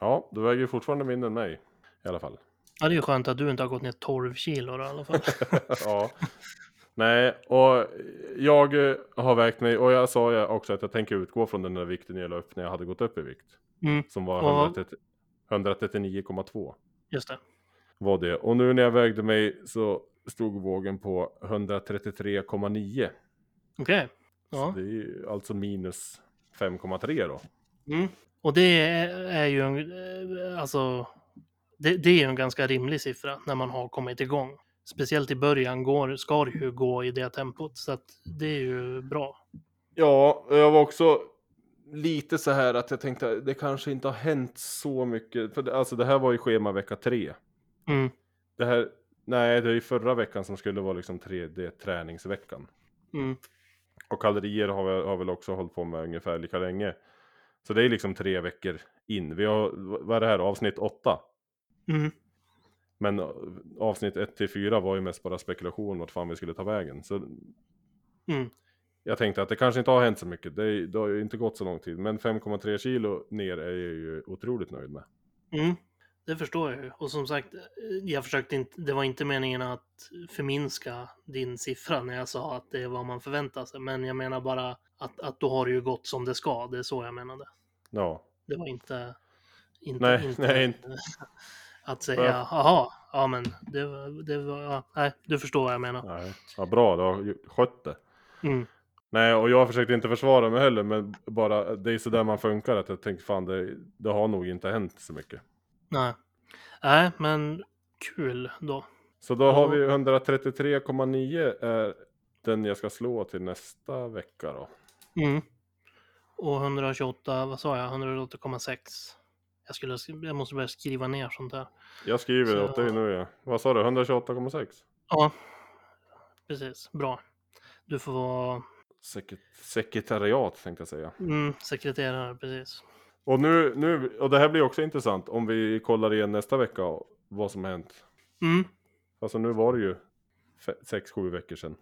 S1: Ja, du väger ju fortfarande mindre än mig i alla fall.
S2: Ja, det är ju skönt att du inte har gått ner 12 kilo då, i alla fall.
S1: ja. Nej, och jag eh, har vägt mig och jag sa ju också att jag tänker utgå från den där vikten jag la upp när jag hade gått upp i vikt.
S2: Mm,
S1: Som var
S2: Och vad-
S1: 130 139,2
S2: just det.
S1: var det. Och nu när jag vägde mig så stod vågen på 133,9.
S2: Okej.
S1: Så
S2: Ja.
S1: det är ju alltså minus 5,3 då.
S2: Mm. Och det är, är ju en, eh, alltså, det, det är ju en ganska rimlig siffra när man har kommit igång. Speciellt i början går, ska det ju gå i det tempot, så att det är ju bra.
S1: Ja, jag var också lite så här att jag tänkte det kanske inte har hänt så mycket. För det, alltså det här var ju schema vecka 3.
S2: Mm.
S1: Det här, nej det är ju förra veckan som skulle vara liksom 3D-träningsveckan.
S2: Mm.
S1: Och kalorier har, vi, har väl också hållit på med ungefär lika länge. Så det är liksom tre veckor in. Vi har, vad är det här, avsnitt 8?
S2: Mm.
S1: Men eh, avsnitt 1 till 4 var ju mest bara spekulation vart fan vi skulle ta vägen. Så
S2: Mm.
S1: Jag tänkte att det kanske inte har hänt så mycket. Det, är- det har ju inte gått så lång tid. Men 5,3 kilo ner är jag ju otroligt nöjd med.
S2: Mm, det förstår jag ju. Och som sagt, eh, jag försökte inte, det var inte meningen att förminska din siffra när jag sa att det är vad man förväntar sig. Men jag menar bara att, att då har det ju gått som det ska. Det är så jag menade.
S1: Ja,
S2: Det var inte... inte
S1: Nej, nej,
S2: Att säga,
S1: Ja.
S2: jaha, ja men det, var- det var, ja, nej, du förstår vad jag menar.
S1: nej. Ja, bra, du har ju skött det.
S2: Mm,
S1: Nej, och jag försökte inte försvara mig heller, men bara det är så där man funkar. Att jag tänker fan, det, det har nog inte hänt så mycket.
S2: nej. nej, men kul då.
S1: Så då har vi 133,9 är den jag ska slå till nästa vecka då.
S2: Mm. Och 128, vad sa jag, 108,6. Jag, skulle, jag måste börja skriva ner sånt här.
S1: Jag skriver
S2: Så-
S1: åt dig nu ja. Vad sa du? 128,6?
S2: Ja, precis. Bra. Du får vara
S1: Sekret- sekretariat tänkte jag säga.
S2: mm, sekreterare, precis.
S1: Och nu, nu, och det här blir också intressant om vi kollar igen nästa vecka vad som har hänt.
S2: Mm.
S1: Alltså nu var det ju 6-7 veckor sedan.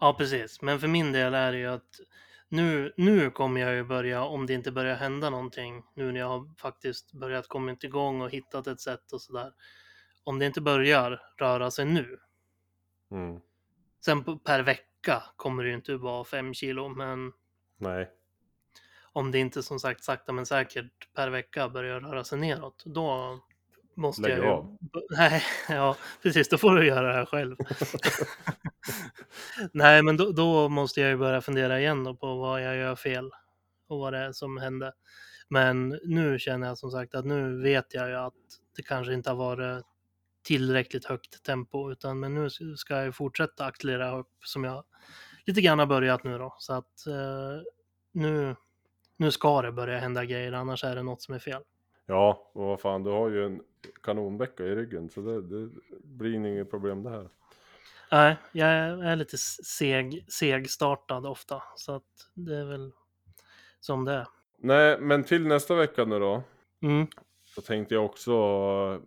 S2: Ja, precis. Men för min del är det ju att nu, nu kommer jag ju börja, om det inte börjar hända någonting, nu när jag har faktiskt börjat komma igång och hittat ett sätt och sådär. Om det inte börjar röra sig nu,
S1: Mm.
S2: sen på, per vecka kommer det ju inte vara fem kilo, men
S1: Nej,
S2: om det inte som sagt sakta men säkert per vecka börjar röra sig neråt, då måste
S1: Lägg
S2: jag ju...
S1: av.
S2: Nej, ja, precis, då får du göra det här själv. Nej, men då, då måste jag ju börja fundera igen då på vad jag gör fel och vad det är som hände. Men nu känner jag som sagt att nu vet jag ju att det kanske inte har varit tillräckligt högt tempo, utan men nu ska jag ju fortsätta accelerera upp som jag lite grann har börjat nu då. Så att eh, nu, nu ska det börja hända grejer, annars är det något som är fel.
S1: ja, och vad fan, du har ju en kanonvecka i ryggen så det, det blir inget problem det här.
S2: Nej, jag är lite seg, segstartad ofta, så att det är väl som det är.
S1: Nej, men till nästa vecka nu då.
S2: Mm.
S1: Så tänkte jag också eh,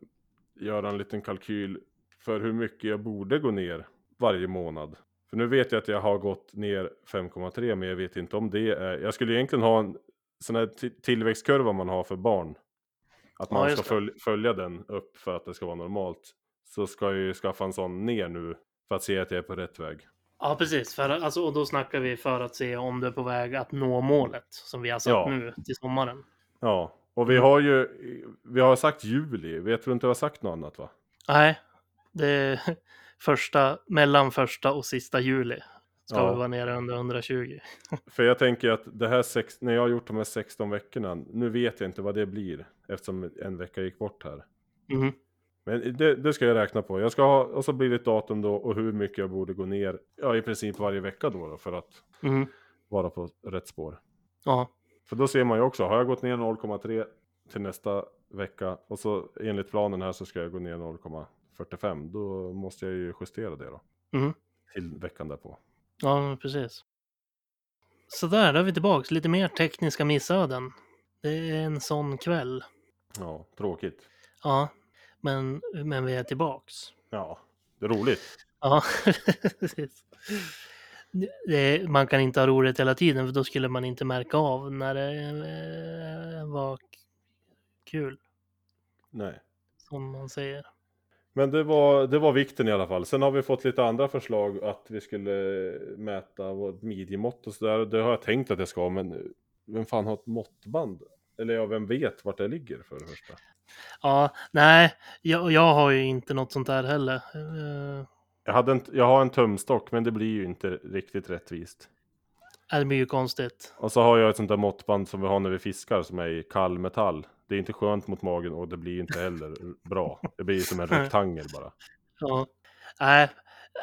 S1: göra en liten kalkyl för hur mycket jag borde gå ner varje månad. För nu vet jag att jag har gått ner 5,3 men jag vet inte om det är... Jag skulle egentligen ha en sån här ti- tillväxtkurva man har för barn. Att
S2: Ja,
S1: man
S2: just
S1: ska följ, följa den upp för att det ska vara normalt. Så ska jag ju skaffa en sån ner nu för att se att jag är på rätt väg.
S2: Ja, precis. För, alltså, och då snackar vi för att se om du är på väg att nå målet som vi har satt
S1: Ja.
S2: nu till sommaren.
S1: Ja, och
S2: Mm.
S1: vi har ju... Vi har sagt juli, vi tror inte vi har sagt något annat va?
S2: Nej, det är första, mellan första och sista juli ska
S1: Ja.
S2: vi vara nere under 120.
S1: För jag tänker att det här sex, när jag har gjort de här 16 veckorna, nu vet jag inte vad det blir eftersom en vecka gick bort här.
S2: Mm.
S1: Men det, det ska jag räkna på. Jag ska ha, och så blir det ett datum då och hur mycket jag borde gå ner, ja i princip varje vecka då, då för att
S2: Mm.
S1: vara på rätt spår.
S2: Ja.
S1: För då ser man ju också, har jag gått ner 0,3 till nästa vecka och så enligt planen här så ska jag gå ner 0,45, då måste jag ju justera det då.
S2: Mm.
S1: Till veckan därpå.
S2: Ja, men precis. Så där, då är vi tillbaks. Lite mer tekniska missöden. Det är en sån kväll.
S1: Ja, tråkigt.
S2: Ja, men, men vi är tillbaks.
S1: Ja, det är roligt.
S2: Ja, precis. Det, man kan inte ha roligt hela tiden för då skulle man inte märka av när det eh, var k- kul,
S1: Nej.
S2: som man säger.
S1: Men det var, det var vikten i alla fall. Sen har vi fått lite andra förslag att vi skulle eh, mäta vårt midjemått och sådär. Det har jag tänkt att jag ska, men eh, vem fan har ett måttband? Eller ja, vem vet vart det ligger för det första?
S2: Ja, nej, jag, jag har ju inte något sånt där heller. Eh,
S1: Jag, hade en, jag har en tumstock, men det blir ju inte riktigt rättvist.
S2: Det blir ju konstigt.
S1: Och så har jag ett sånt där måttband som vi har när vi fiskar som är i kall metall. Det är inte skönt mot magen och det blir ju inte heller bra. Det blir ju som en rektangel bara.
S2: Ja. Nej,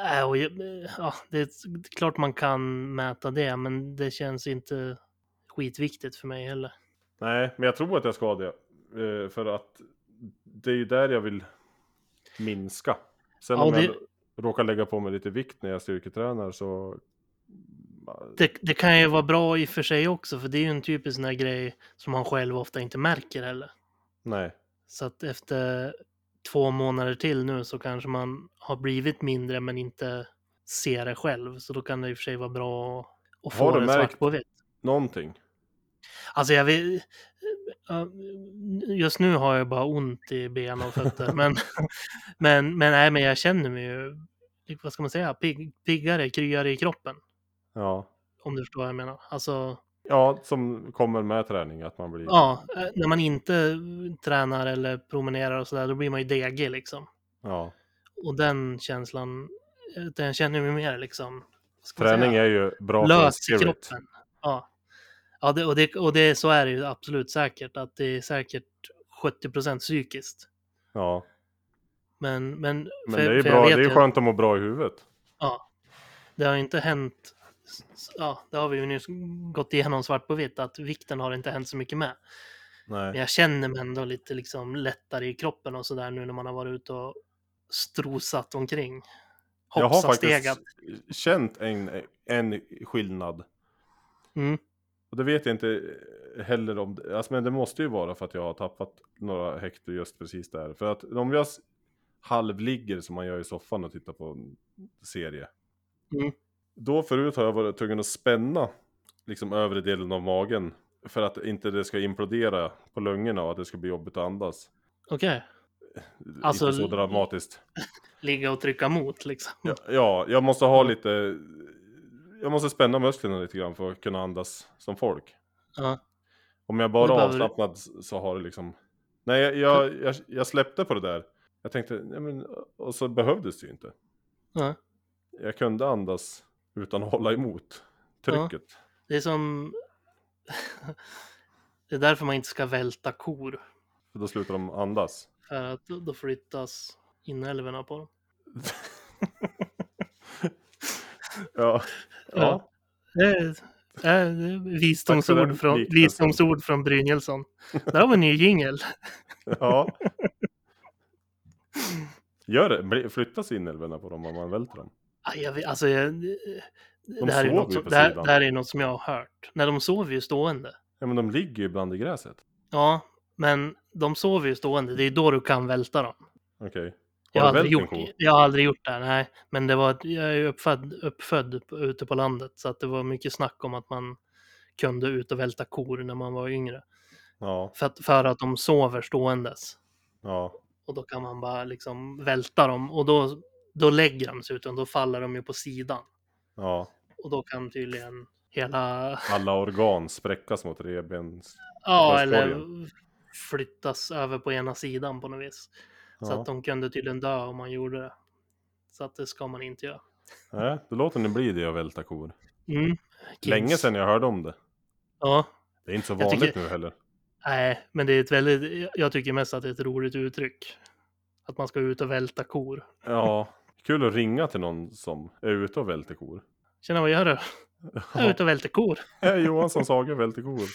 S2: nej, och jag- ja, det är s- det är klart man kan mäta det, men det känns inte skitviktigt för mig heller.
S1: Nej, men jag tror att jag ska det. eh, För att det är ju där jag vill minska. Sen
S2: Ja,
S1: om
S2: det-
S1: jag råkar lägga på mig lite vikt när jag styrketränar så...
S2: Det, det kan ju vara bra i och för sig också, för det är ju en typisk sån här grej som man själv ofta inte märker heller.
S1: Nej.
S2: Så att efter två månader till nu så kanske man har blivit mindre men inte ser det själv. Så då kan det i och för sig vara bra att- och
S1: Har
S2: får
S1: du
S2: det
S1: märkt-
S2: svart på vitt.
S1: Någonting.
S2: Alltså jag vill... ja, Just nu har jag bara ont i ben och fötter. men, men, men, nej, men jag känner mig ju, typ, vad ska man säga, pigg, piggare, kryare i kroppen.
S1: Ja.
S2: Om du förstår vad jag menar. Alltså,
S1: ja, som kommer med träning. Att man blir...
S2: ja, eh, när man inte tränar eller promenerar och sådär, då blir man ju degig liksom.
S1: Ja.
S2: Och den känslan, eh, den känner jag mig mer liksom. vad ska man säga?
S1: Träning är ju bra
S2: lös i
S1: spirit.
S2: kroppen. Ja, ja det, och, det, och det, så är det ju absolut säkert. Att det är säkert 70 psykiskt.
S1: Ja.
S2: Men, men,
S1: Men
S2: för-
S1: det är ju
S2: för jag
S1: bra. Det
S2: vet
S1: är ju
S2: ju-
S1: skönt att må bra i huvudet.
S2: Det har ju inte hänt, s- ja, det har vi ju nyss gått igenom svart på vitt, att vikten har inte hänt så mycket med. Men
S1: Nej.
S2: jag känner mig ändå lite liksom lättare i kroppen och sådär nu när man har varit ute och strosat omkring.
S1: Jag har
S2: Hoppsat, stegat.
S1: faktiskt känt en, en skillnad.
S2: Mm.
S1: Och det vet jag inte heller om det, alltså, men det måste ju vara för att jag har tappat några hekto just precis där. För att om jag s- halvligger som man gör i soffan och tittar på en serie.
S2: Mm.
S1: Då förut har jag varit tvungen att spänna liksom övre delen av magen. För att inte det ska implodera på lungorna och att det ska bli jobbigt att andas.
S2: Okej, Alltså-
S1: inte så dramatiskt.
S2: ligga och trycka mot liksom.
S1: Ja, ja, jag måste ha lite... Jag måste spänna musklerna lite grann för att kunna andas som folk.
S2: Ja.
S1: Om jag
S2: Och
S1: bara
S2: det
S1: är
S2: behöver du-
S1: avslappnad s- så har det liksom... Nej, jag, jag, jag, jag släppte på det där. Jag tänkte, nej men, och så behövdes det ju inte.
S2: Nej.
S1: Jag kunde andas utan att hålla emot trycket.
S2: Det är som... det är därför man inte ska välta kor.
S1: För då slutar de andas.
S2: För att då då flyttas inälvorna på dem.
S1: Ja, ja.
S2: Ja. Det är,
S1: Tack
S2: det är
S1: för den
S2: visdomsord, från,
S1: liknelsen.
S2: visdomsord från Brynjelsson. Där har vi en ny jingel.
S1: ja. Gör det, Bli- flyttas inälvorna på dem om man välter dem.
S2: Aj, jag vet- Alltså, jag, det, här är
S1: sover
S2: något
S1: ju
S2: som,
S1: på
S2: det, här,
S1: sidan.
S2: det här är något som jag har hört. När de sover ju stående.
S1: Ja men de ligger ju ibland i gräset.
S2: Ja, men de sover ju stående. Det är då du kan välta dem.
S1: Okej.
S2: Jag
S1: Har
S2: har,
S1: du
S2: aldrig
S1: vält
S2: gjort,
S1: en ko?
S2: jag har aldrig gjort det, här, nej. Men det var, ett- jag är ju uppfödd, uppfödd på- ute på landet, så att det var mycket snack om att man kunde ut och välta kor när man var yngre.
S1: Ja,
S2: För att, för att de sover ståendes.
S1: ja.
S2: Och då kan man bara liksom välta dem och då, då lägger de sig utan då faller de ju på sidan.
S1: Ja,
S2: Och då kan tydligen hela,
S1: alla organ spräckas mot revbens...
S2: ja
S1: Bröstkorgen.
S2: eller flyttas över på ena sidan på något vis.
S1: Ja.
S2: Så att de kunde tydligen dö om man gjorde det. Så att det ska man inte göra.
S1: Nej, då låter ni bli det att välta kor.
S2: Mm. Kids.
S1: Länge sedan jag hörde om det.
S2: Ja,
S1: Det är inte så
S2: Jag
S1: vanligt
S2: tycker-
S1: nu heller.
S2: nej, men det är ett väldigt, jag tycker mest att det är ett roligt uttryck. Att man ska ut och välta kor.
S1: Ja, kul att ringa till någon som är ute och välter kor.
S2: Tjena, vad gör du? Jag är ute och välter kor.
S1: Ja, Johansson Sager välter kor.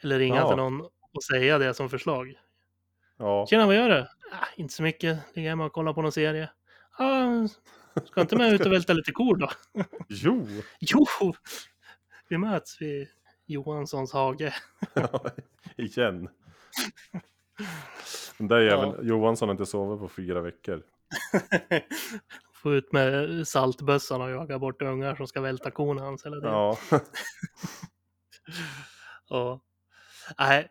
S2: Eller ringa
S1: Ja.
S2: till någon och säga det som förslag.
S1: Ja,
S2: Tjena, vad gör du? Ah, inte så mycket, ligger hemma och kollar på någon serie. Ah, ska inte med ut och välta lite kor då?
S1: jo!
S2: Jo, vi möts vid Johanssons hage.
S1: Igen. Den där jäveln, Johansson har inte sovit på fyra veckor.
S2: Få ut med saltbössan och jaga bort ungar som ska välta korna hans hela tiden.
S1: Ja,
S2: Ja. Nej,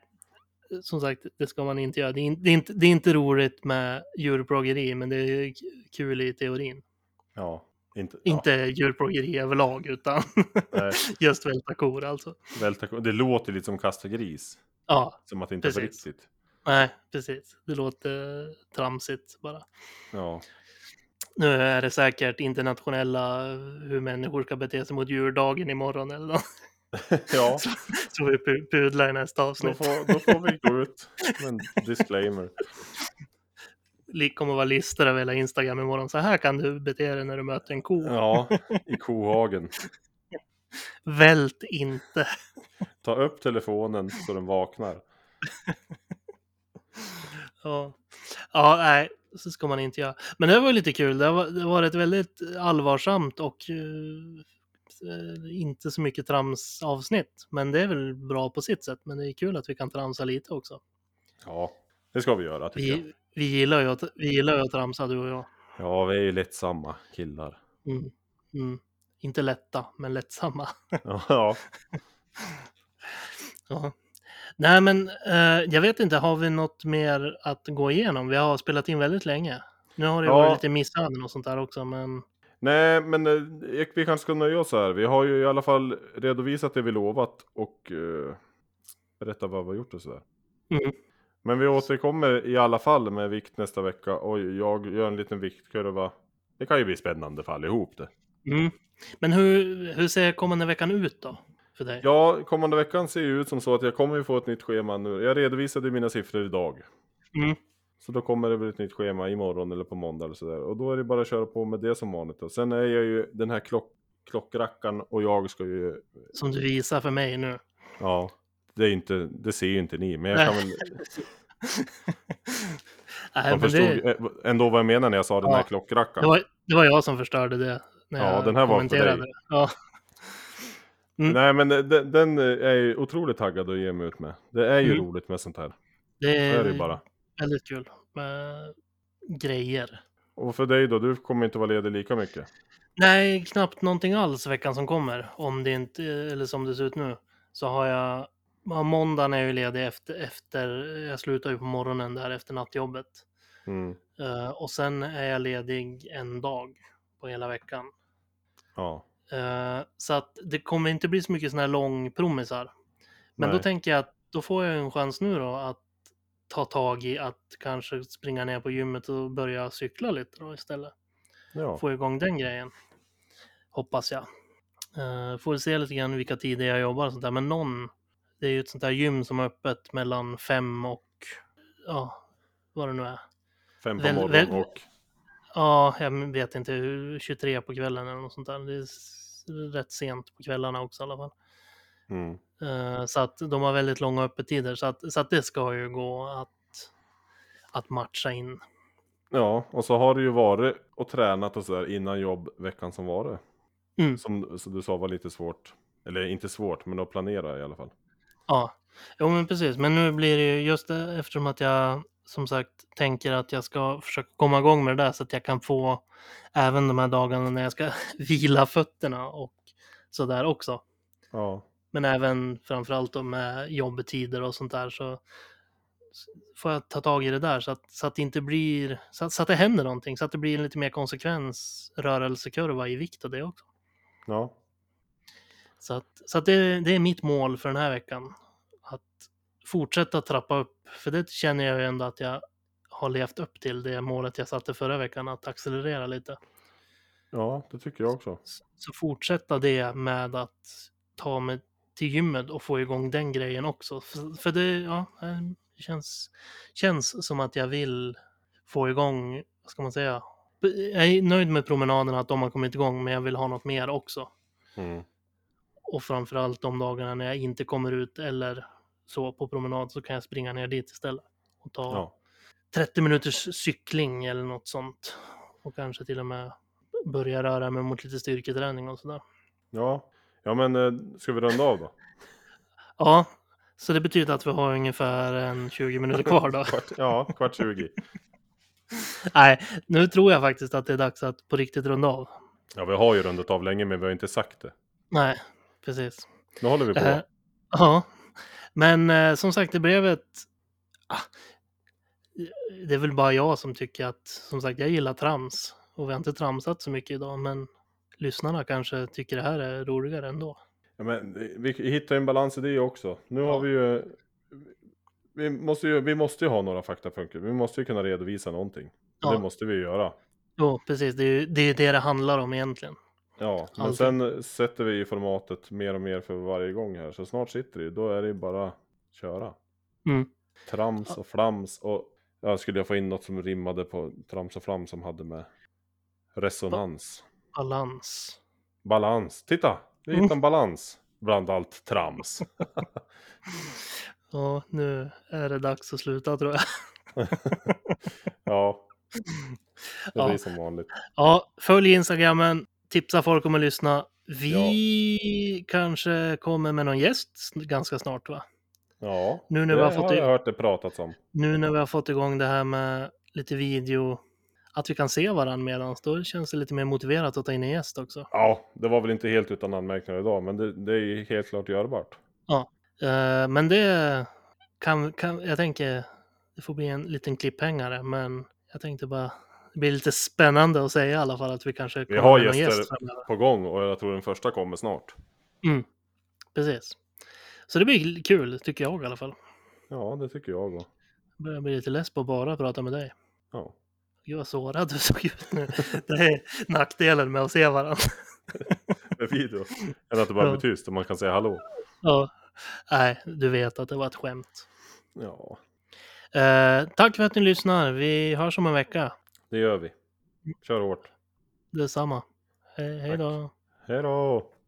S2: som sagt, det ska man inte göra. Det är, in, det är, inte, det är inte roligt med djurplågeri, men det är k- kul i teorin.
S1: ja. Inte,
S2: Inte djurplågeri överlag, utan
S1: Ja, nej,
S2: just välta kor alltså.
S1: välta kor. Det låter lite som kasta gris.
S2: Ja,
S1: Som att det inte är på
S2: Precis.
S1: riktigt.
S2: nej, precis. Det låter tramsigt bara.
S1: Ja,
S2: Nu är det säkert internationella eh, hur människor ska bete sig mot djurdagen imorgon eller något.
S1: ja
S2: Så vi pu- pudlar i nästa
S1: då,
S2: avsnitt.
S1: får, då får vi gå ut med en disclaimer.
S2: Lik kommer vara listor över hela Instagram imorgon. Så här kan du bete dig när du möter en ko.
S1: Ja, i kohagen.
S2: Vält inte.
S1: Ta upp telefonen så den vaknar.
S2: Ja, ja nej, så ska man inte göra. Men det var lite kul. Det var, det var ett väldigt allvarsamt och eh, inte så mycket tramsavsnitt. Men det är väl bra på sitt sätt. Men det är kul att vi kan tramsa lite också.
S1: Ja, det ska vi göra tycker jag.
S2: Vi, vi, gillar, ju att, vi gillar ju att tramsa, du och jag.
S1: Ja, vi är ju lättsamma killar.
S2: Mm. Mm. Inte lätta, men lättsamma.
S1: Ja, ja.
S2: Ja. Nej, men eh, jag vet inte, har vi något mer att gå igenom? Vi har spelat in väldigt länge. Nu har det
S1: Ja.
S2: varit lite missöden och sånt där också, men
S1: Nej, men eh, jag- vi kanske ska nöja oss här. Vi har ju i alla fall redovisat det vi lovat och eh, berättat vad vi har gjort och sådär.
S2: Mm.
S1: Men vi återkommer i alla fall med vikt nästa vecka och jag gör en liten viktkurva. Det kan ju bli spännande för allihop det.
S2: Mm. Men hur, hur ser kommande veckan ut då? För dig?
S1: Ja, kommande veckan ser ju ut som så att jag kommer ju få ett nytt schema nu. Jag redovisade mina siffror idag.
S2: Mm.
S1: Så då kommer det väl ett nytt schema imorgon eller på måndag eller sådär. Och då är det bara att köra på med det som vanligt. Och sen är jag ju den här klock, klockrackaren och jag ska ju...
S2: Som du visar för mig nu.
S1: Ja, det, är inte, det ser ju inte ni. Men jag kan väl...
S2: Nej,
S1: Man
S2: men
S1: förstod
S2: det,
S1: eh, ändå vad jag menar när jag sa den
S2: Ja,
S1: här klockrackaren.
S2: det, var, det var jag som förstörde det. När
S1: Ja,
S2: jag
S1: den här var för
S2: kommenterade.
S1: dig.
S2: Ja. Mm.
S1: Nej men den, den eh, är ju otroligt taggad att ge mig ut med. Det är ju
S2: Mm. Eh.
S1: roligt med sånt här.
S2: Det
S1: Det
S2: är,
S1: är det ju bara.
S2: väldigt kul med grejer.
S1: Och för dig då, du kommer inte vara ledig lika mycket.
S2: Nej, knappt någonting alls veckan som kommer. Om det inte, eller som det ser ut nu, så har jag... ja, Måndagen är jag ju ledig efter, efter... Jag slutar ju på morgonen där efter nattjobbet.
S1: Mm.
S2: Eh, och sen är jag ledig en dag på hela veckan.
S1: Ja.
S2: Eh, så att det kommer inte bli så mycket sådana här långpromisar. Men
S1: Nej.
S2: då tänker jag att då får jag en chans nu då att ta tag i att kanske springa ner på gymmet och börja cykla lite då istället.
S1: Ja.
S2: Få igång den grejen. Hoppas jag. Eh, får se lite grann vilka tider jag jobbar och sånt där. Men någon, det är ju ett sånt där gym som är öppet mellan fem och ja, vad det nu är.
S1: Fem på
S2: väl-
S1: morgonen
S2: väl-
S1: och...
S2: Ja, jag vet inte, hur- 23 på kvällen eller något sånt där. Det är s- rätt sent på kvällarna också i alla fall.
S1: Mm.
S2: Eh, Så att de har väldigt långa öppettider, så att, så att det ska ju gå att, att matcha in.
S1: Ja, och så har du ju varit och tränat och sådär innan jobb veckan som var det.
S2: Mm.
S1: Som, som du sa var lite svårt. Eller inte svårt, men att planera i alla fall.
S2: Ja, jo men precis. Men nu blir det ju just det, eftersom att jag som sagt tänker att jag ska försöka komma igång med det där så att jag kan få även de här dagarna när jag ska vila fötterna och sådär också.
S1: Ja.
S2: Men även framförallt då med jobbtider och sånt där så får jag ta tag i det där så att, så att det inte blir, så att, så att det händer någonting, så att det blir lite mer konsekvens, rörelsekurva i vikt och det också.
S1: Ja.
S2: Så att, så att det, det är mitt mål för den här veckan. Att fortsätta trappa upp, för det känner jag ju ändå att jag har levt upp till det målet jag satte förra veckan, att accelerera lite.
S1: Ja, det tycker jag också.
S2: Så fortsätta det med att ta mig till gymmet och få igång den grejen också. För, för det ja, det känns, känns som att jag vill få igång, vad ska man säga? Jag är nöjd med promenaderna, att de har kommit igång, men jag vill ha något mer också.
S1: Mm.
S2: Och framförallt de dagarna när jag inte kommer ut eller så på promenad så kan jag springa ner dit istället. Och ta
S1: Ja.
S2: 30 minuters cykling eller något sånt. Och kanske till och med börja röra mig mot lite styrketräning och sådär.
S1: ja. Ja, men eh, ska vi runda av då?
S2: Ja, så det betyder att vi har ungefär en 20 minuter kvar då.
S1: Kvart, ja, kvart 20.
S2: Nej, nu tror jag faktiskt att det är dags att på riktigt runda av.
S1: Ja, vi har ju rundat av länge, men vi har inte sagt det.
S2: Nej, precis.
S1: Nu håller vi på.
S2: Eh, ja, men eh, som sagt, det blev ett... Ah, det är väl bara jag som tycker att, som sagt, jag gillar trams. Och vi har inte tramsat så mycket idag, men lyssnarna kanske tycker det här är roligare ändå.
S1: Ja, men eh, vi hittar ju en balans i det också. Nu
S2: Ja.
S1: har vi ju... Vi måste ju, vi måste ju ha några faktapunkter. Vi måste ju kunna redovisa någonting.
S2: Ja.
S1: Det måste vi ju göra.
S2: Jo, precis, det är ju det är ju det, det handlar om egentligen.
S1: Ja, men
S2: Alltid.
S1: sen sätter vi i formatet mer och mer för varje gång här. Så snart sitter det ju, då är det ju bara köra.
S2: Mm.
S1: Trams och flams och... Ja, skulle jag få in något som rimmade på trams och flams som hade med resonans.
S2: Balans.
S1: Balans. Titta! Vi
S2: Mm.
S1: hittade en balans bland allt trams.
S2: Ja, nu är det dags att sluta tror jag.
S1: Ja. Det blir
S2: Ja.
S1: som vanligt.
S2: Ja, följ Instagrammen, tipsa folk om att lyssna. Vi kanske kommer med någon gäst s- ganska snart va?
S1: Ja.
S2: Nu
S1: det
S2: när vi har fått
S1: har
S2: i-
S1: jag hört det pratats om.
S2: Nu när vi har fått igång det här med lite video, att vi kan se varandra medans, då känns det lite mer motiverat att ta in en gäst också.
S1: Ja, det var väl inte helt utan anmärkningar idag, men det, det är ju helt klart görbart.
S2: Eh, men det kan, kan, jag tänker, det får bli en liten klipphängare, men jag tänkte bara, det blir lite spännande att säga i alla fall att vi kanske
S1: Vi
S2: kommer
S1: har
S2: med någon
S1: gäster.
S2: framöver.
S1: På gång och jag tror den första kommer snart.
S2: Precis. Så det blir kul, tycker jag i alla fall.
S1: Ja, det tycker jag också.
S2: börjar bli lite less på att bara prata med dig.
S1: Ja.
S2: Gud vad sårad du såg ut nu. Det är nackdelen med att se varandra.
S1: Med video. Än att det bara
S2: Ja.
S1: blir tyst och man kan säga hallå.
S2: Ja. Nej, du vet att det var ett skämt.
S1: Ja,
S2: Eh, tack för att ni lyssnar. Vi hörs om en vecka.
S1: det gör vi. Kör hårt.
S2: Detsamma. Hej, hej
S1: Tack.
S2: då.
S1: Hej då!